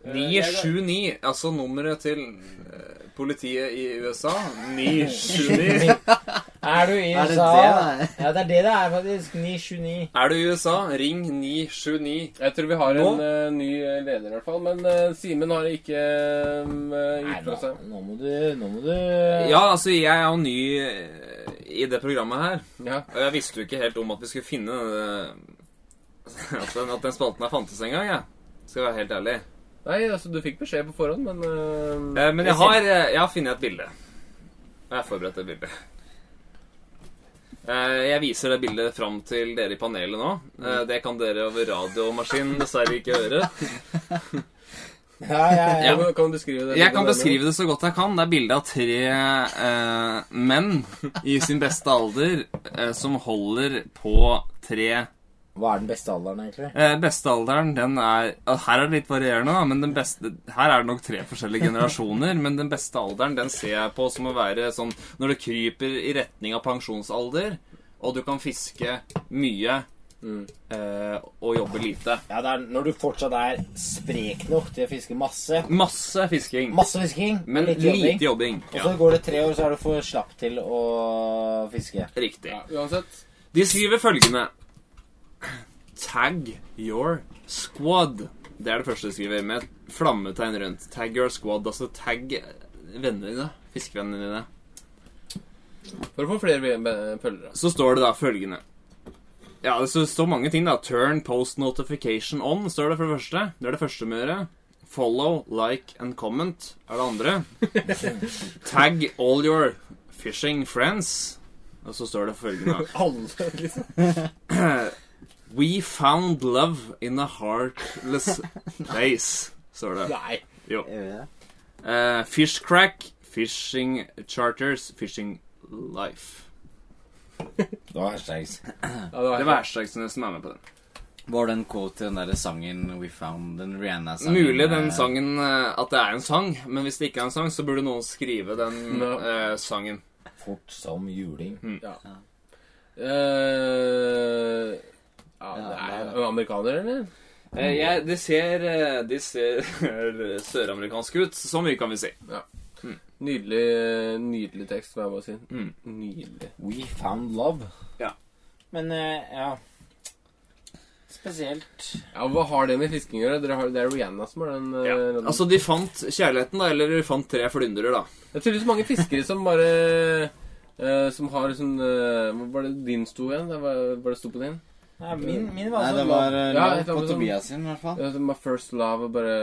Speaker 1: Eh, jeg ga-
Speaker 5: 979, altså nummeret til eh, politiet i USA. 979.
Speaker 3: Er du i
Speaker 6: Er det
Speaker 3: USA?
Speaker 8: Altså-
Speaker 6: det?
Speaker 3: Ja, det er det det er, faktisk. 929.
Speaker 5: Er du i USA, ring 979.
Speaker 1: Jeg tror vi har
Speaker 5: Nå?
Speaker 1: en eh, ny eh, leder, i hvert fall. Men eh, Simen har ikke eh,
Speaker 3: Nei, altså.
Speaker 1: gitt
Speaker 3: nå,
Speaker 1: fra seg.
Speaker 3: nå må du Nå må du
Speaker 5: Ja, altså, jeg er jo ny eh, i det programmet her.
Speaker 1: Ja.
Speaker 5: Og jeg visste jo ikke helt om at vi skulle finne denne At den, at den spalten her fantes en gang, jeg. Skal jeg være helt ærlig.
Speaker 1: Nei, altså, du fikk beskjed på forhånd, men eh,
Speaker 5: Eh, men jeg har, eh, jeg har funnet et bilde. Og jeg har forberedt et bilde. Eh, jeg viser det bildet fram til dere i panelet nå. Eh, det kan dere over radiomaskinen dessverre ikke høre.
Speaker 3: ja, ja, ja.
Speaker 1: kan, kan du beskrive det?
Speaker 5: Jeg kan beskrive det så godt jeg kan. Det er bilde av tre eh, menn i sin beste alder eh, som holder på tre
Speaker 3: Hva er den beste alderen, egentlig?
Speaker 5: eh, Bestealderen, den er ah, Her er det litt varierende, da, men den beste Her er det nok tre forskjellige generasjoner, men den beste alderen, den ser jeg på som å være sånn Når du kryper i retning av pensjonsalder, og du kan fiske mye
Speaker 3: Mm.
Speaker 5: eh, og jobbe lite.
Speaker 3: Ja, det er Når du fortsatt er sprek nok til å fiske masse.
Speaker 5: Masse fisking,
Speaker 3: Masse fisking,
Speaker 5: men
Speaker 3: lite
Speaker 5: lite
Speaker 3: jobbing.
Speaker 5: jobbing.
Speaker 3: Og så
Speaker 5: Ja,
Speaker 3: går det tre år, så er du for slapp til å fiske.
Speaker 5: riktig.
Speaker 1: Ja, uansett.
Speaker 5: De skriver følgende Tag your squad Det er det første de skriver Med et flammetegn rundt Tag your squad, altså tag vennene dine Fiskevennene dine
Speaker 1: For å få flere ve- be- følgere.
Speaker 5: Så står det da følgende Ja, det står mange ting da Turn post notification on Står det for det første Det er det første med gjøre Follow, like and comment er det andre. Tag all your fishing friends. Og så står det følgende
Speaker 1: Alle, liksom.
Speaker 5: We found love in a heartless place, står det.
Speaker 1: Nei.
Speaker 6: Gjør vi det?
Speaker 5: Eh, fish crack, fishing charters, fishing life.
Speaker 3: Det var hashtags.
Speaker 1: Ja, det var,
Speaker 5: Det var hashtagene som er med på den.
Speaker 3: Var det en quote til den der sangen We Found? Den Rihanna-sangen?
Speaker 5: Mulig den
Speaker 3: eh,
Speaker 5: sangen eh, at det er en sang, men hvis det ikke er en sang, så burde noen skrive den
Speaker 1: Ja.
Speaker 5: eh, sangen.
Speaker 3: Fort som juling.
Speaker 1: Eh, ja, det er jo amerikaner, eller?
Speaker 5: Eh, jeg, de ser, eh, de ser søramerikanske ut. Så mye kan vi si.
Speaker 1: Nydelig, nydelig tekst, må jeg bare si. Nydelig.
Speaker 3: We Found Love.
Speaker 9: Men eh, ja Spesielt
Speaker 1: Ja, Hva har det med fisking å gjøre? Dere har- Det er Rihanna som har den. eh, låten.
Speaker 5: Altså, de fant kjærligheten, da, eller de fant tre flyndrer, da.
Speaker 1: Det er tydeligvis mange fiskere som bare eh, Som har sånn eh, Hva var det din sto igjen? Det var, var det sto på din?
Speaker 9: Nei, min, min var
Speaker 6: Nei,
Speaker 9: sånn
Speaker 3: altså
Speaker 6: det var eh,
Speaker 1: Ja,
Speaker 6: lov
Speaker 8: sånn-
Speaker 1: jeg tror det
Speaker 6: på
Speaker 1: var
Speaker 6: Tobias sin, i hvert fall.
Speaker 1: Det var My first love og bare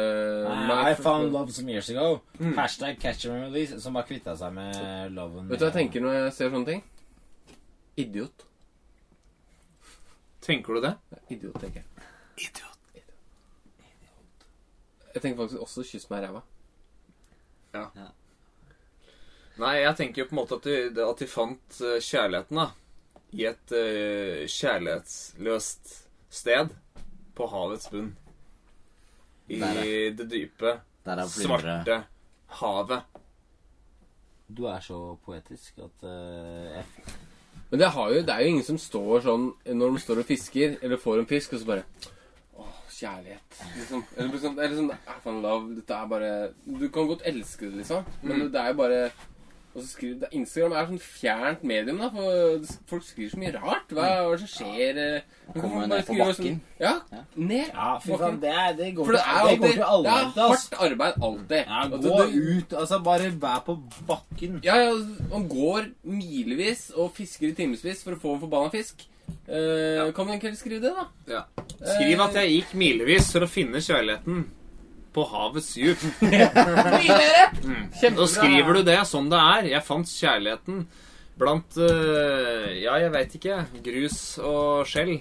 Speaker 3: I
Speaker 1: first
Speaker 3: found
Speaker 1: love.
Speaker 3: love some years ago. Hashtag catch and release, som bare kvitta seg med loven.
Speaker 1: Vet du hva jeg tenker når jeg ser sånne ting? Idiot.
Speaker 5: Tenker du det?
Speaker 1: Idiot, tenker jeg. Idiot. Jeg tenker faktisk også 'kyss meg i ræva'.
Speaker 5: Nei, jeg tenker jo på en måte at de, at de fant eh, kjærligheten, da. I et eh, kjærlighetsløst sted. På havets bunn. I
Speaker 6: Der,
Speaker 5: det dype,
Speaker 6: Der er flyndre.
Speaker 5: svarte havet.
Speaker 3: Du er så poetisk at eh, jeg
Speaker 1: Men det, har jo, det er jo ingen som står sånn når de står og fisker, eller får en fisk, og så bare Åh, kjærlighet. Liksom. Eller bare sånn, eller sånn I found love. Dette er bare Du kan godt elske det, liksom,
Speaker 6: Mm.
Speaker 1: men det er jo bare og så skriver, det- Instagram er sånn fjernt medium. da for Folk skriver så mye rart. Hva hva er det som skjer? eh, man kan
Speaker 6: Mm. Kommer
Speaker 1: bare
Speaker 6: ned på
Speaker 1: skrive
Speaker 6: bakken.
Speaker 1: ja, ned
Speaker 3: Ja, fy faen,
Speaker 1: bakken.
Speaker 3: det, er, det går
Speaker 1: For det er
Speaker 3: til-
Speaker 1: alltid
Speaker 3: går til alle.
Speaker 1: Det er hardt arbeid, alltid.
Speaker 3: Ja,
Speaker 1: Altså,
Speaker 3: gå
Speaker 1: du-
Speaker 3: ut. Altså, bare vær på bakken.
Speaker 1: Ja, ja, han går milevis og fisker i timevis for å få en forbanna fisk. Eh, Kan du egentlig skrive det, da?
Speaker 5: Ja. Skriv at jeg gikk milevis for å finne kjærligheten på havets djup.
Speaker 1: Kjempebra.
Speaker 5: Så skriver du det sånn det er. Jeg fant kjærligheten blant eh, Ja, jeg veit ikke. Grus og skjell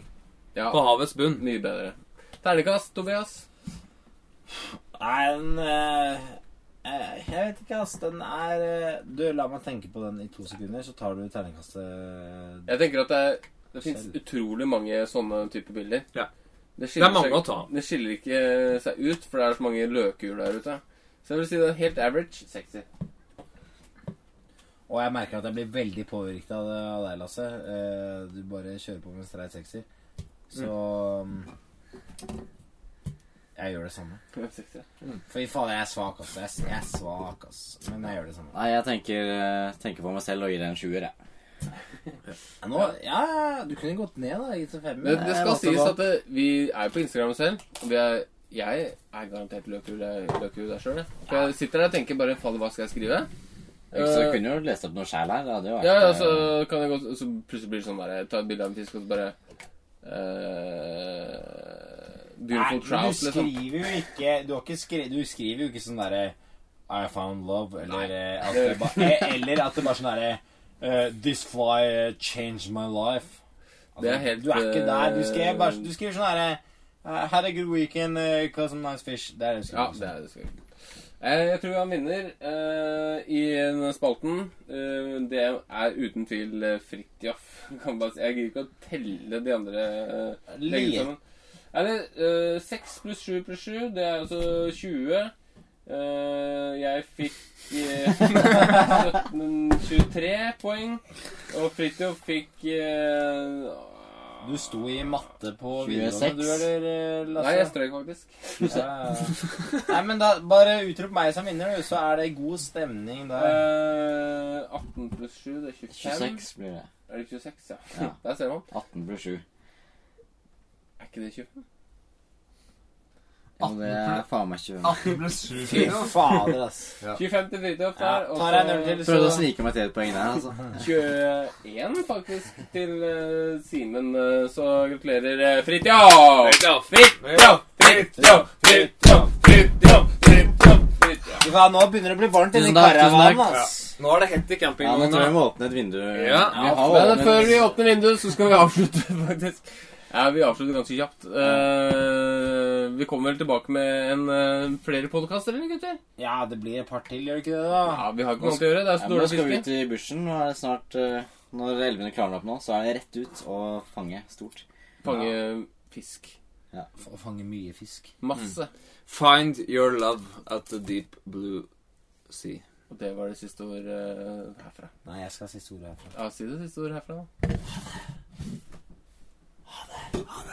Speaker 1: Ja,
Speaker 5: på havets bunn.
Speaker 1: mye bedre. Ternekast, Tobias.
Speaker 3: Nei, den eh, eh, Jeg vet ikke, ass. Den er eh, Du, la meg tenke på den i to sekunder, så tar du terningkastet eh,
Speaker 1: Jeg tenker at det, det fins utrolig mange sånne type bilder.
Speaker 5: Ja.
Speaker 1: Det,
Speaker 5: Det
Speaker 1: skiller
Speaker 5: er mange
Speaker 1: seg,
Speaker 5: å ta.
Speaker 1: Det skiller ikke seg ut, for det er så mange løkhjul der ute. Så jeg vil si det er helt average 60.
Speaker 3: Og jeg merker at jeg blir veldig påvirket av, det, av deg, Lasse. Eh, du bare kjører på med streit sekser. Så mm, Jeg gjør det samme.
Speaker 1: 60.
Speaker 3: Fy faen, jeg er svak, ass. Jeg, er s- jeg er svak, ass. Men jeg gjør det samme.
Speaker 6: Nei, jeg tenker, eh, tenker på meg selv og gir det en sjuer, jeg.
Speaker 3: Nå, ja, du kunne gått ned, da. Gitt en femmer.
Speaker 1: Men det
Speaker 3: Jeg
Speaker 1: skal
Speaker 3: valgte
Speaker 1: sies
Speaker 3: å-
Speaker 1: at det, vi er jo på Instagram selv. Og vi er, jeg er garantert løkhjul der løkhjul der sjøl. jeg. For jeg sitter der og tenker bare faen, hva skal jeg skrive?
Speaker 6: Så jeg
Speaker 1: Eh,
Speaker 6: kunne jo lest opp noe sjæl her. Det hadde jo vært
Speaker 1: Ja, altså, ja,
Speaker 6: eh,
Speaker 1: så kan jeg gå Så plutselig blir det sånn der Ta et bilde av en fisk, og så bare eh, Beautiful
Speaker 3: Nei,
Speaker 1: trout,
Speaker 3: men du
Speaker 1: liksom.
Speaker 3: skriver jo ikke Du, har ikke skri, du skriver jo ikke sånn derre I found love, eller, eh, at det, ba, eh, eller at det bare sånn derre eh, This fly eh, changed my life. Altså,
Speaker 1: Det er helt,
Speaker 3: Du er ikke der. Du skriver, bare,
Speaker 1: eh,
Speaker 3: du skriver sånn herre uh, Had a good weekend, uh, caught some nice fish. Det er det du
Speaker 1: Ja,
Speaker 3: skriver.
Speaker 1: det er det skal jeg. Eh, Jeg tror han vinner eh, i denne spalten. Eh, det er uten tvil eh, Fridtjof. Kan bare si- Jeg gidder ikke å telle de andre eh, legge sammen. Er det eh, 6 pluss 7 pluss 7? Det er altså 20. Eh, jeg fikk eh, 17, 23 poeng. Og Fridtjof fikk eh,
Speaker 3: Du sto i matte på
Speaker 6: 26.
Speaker 3: videregående, du, eller, eh, Lasse?
Speaker 1: Nei, jeg strøk faktisk.
Speaker 3: Ja, ja. Nei, men da bare utrop meg som vinner, du, så er det god stemning der.
Speaker 1: Eh, 18 pluss 7, det er 25.
Speaker 6: 26 blir det.
Speaker 1: Er det 26, ja?
Speaker 6: Ja.
Speaker 1: Der ser man.
Speaker 6: 18 blir 7.
Speaker 1: Er ikke det 25?
Speaker 6: Ja, men det er faen meg 25.
Speaker 3: Fy fader, ass.
Speaker 1: 25 til Fridtjof der, og
Speaker 3: Tar jeg en øl til,
Speaker 1: så
Speaker 3: så
Speaker 6: Prøvde å snike meg til et poeng der, altså.
Speaker 1: 21 faktisk til eh, Simen. eh, så eh, gratulerer, uh, Fridtjof! Fridtjof! Fridtjof! Fridtjof! Fridtjof!
Speaker 3: Ja, nå begynner det å bli varmt inni
Speaker 6: Tusen takk, tusen
Speaker 3: karavanen,
Speaker 6: takk.
Speaker 3: ass.
Speaker 5: Nå er det hett i
Speaker 6: Ja, nå tror jeg vi
Speaker 5: campingvogna.
Speaker 6: må åpne et vindu.
Speaker 1: Ja,
Speaker 6: vi har
Speaker 1: men
Speaker 6: åpnet-
Speaker 1: før vi åpner vinduet, så skal vi avslutte, faktisk. Ja, vi avslutter ganske kjapt. Eh, vi kommer vel tilbake med en, eh, flere podkaster, eller, gutter?
Speaker 3: Ja, det blir et par til, gjør det ikke det, da?
Speaker 1: Ja, vi har ikke noe annet å gjøre. Det er
Speaker 6: Ja,
Speaker 1: så
Speaker 6: men nå
Speaker 1: dårlig
Speaker 6: skal vi
Speaker 1: fiske.
Speaker 6: ut i bushen. Nå er det snart eh, Når elvene klarner opp nå, så er det rett ut og fange stort.
Speaker 1: Fange fisk.
Speaker 3: Å fange mye fisk.
Speaker 1: Masse.
Speaker 5: Find your love at the deep blue sea.
Speaker 1: Og det var det siste ord eh, herfra.
Speaker 3: Nei, jeg skal si ordet herfra.
Speaker 1: Ja, si det siste ord herfra, da.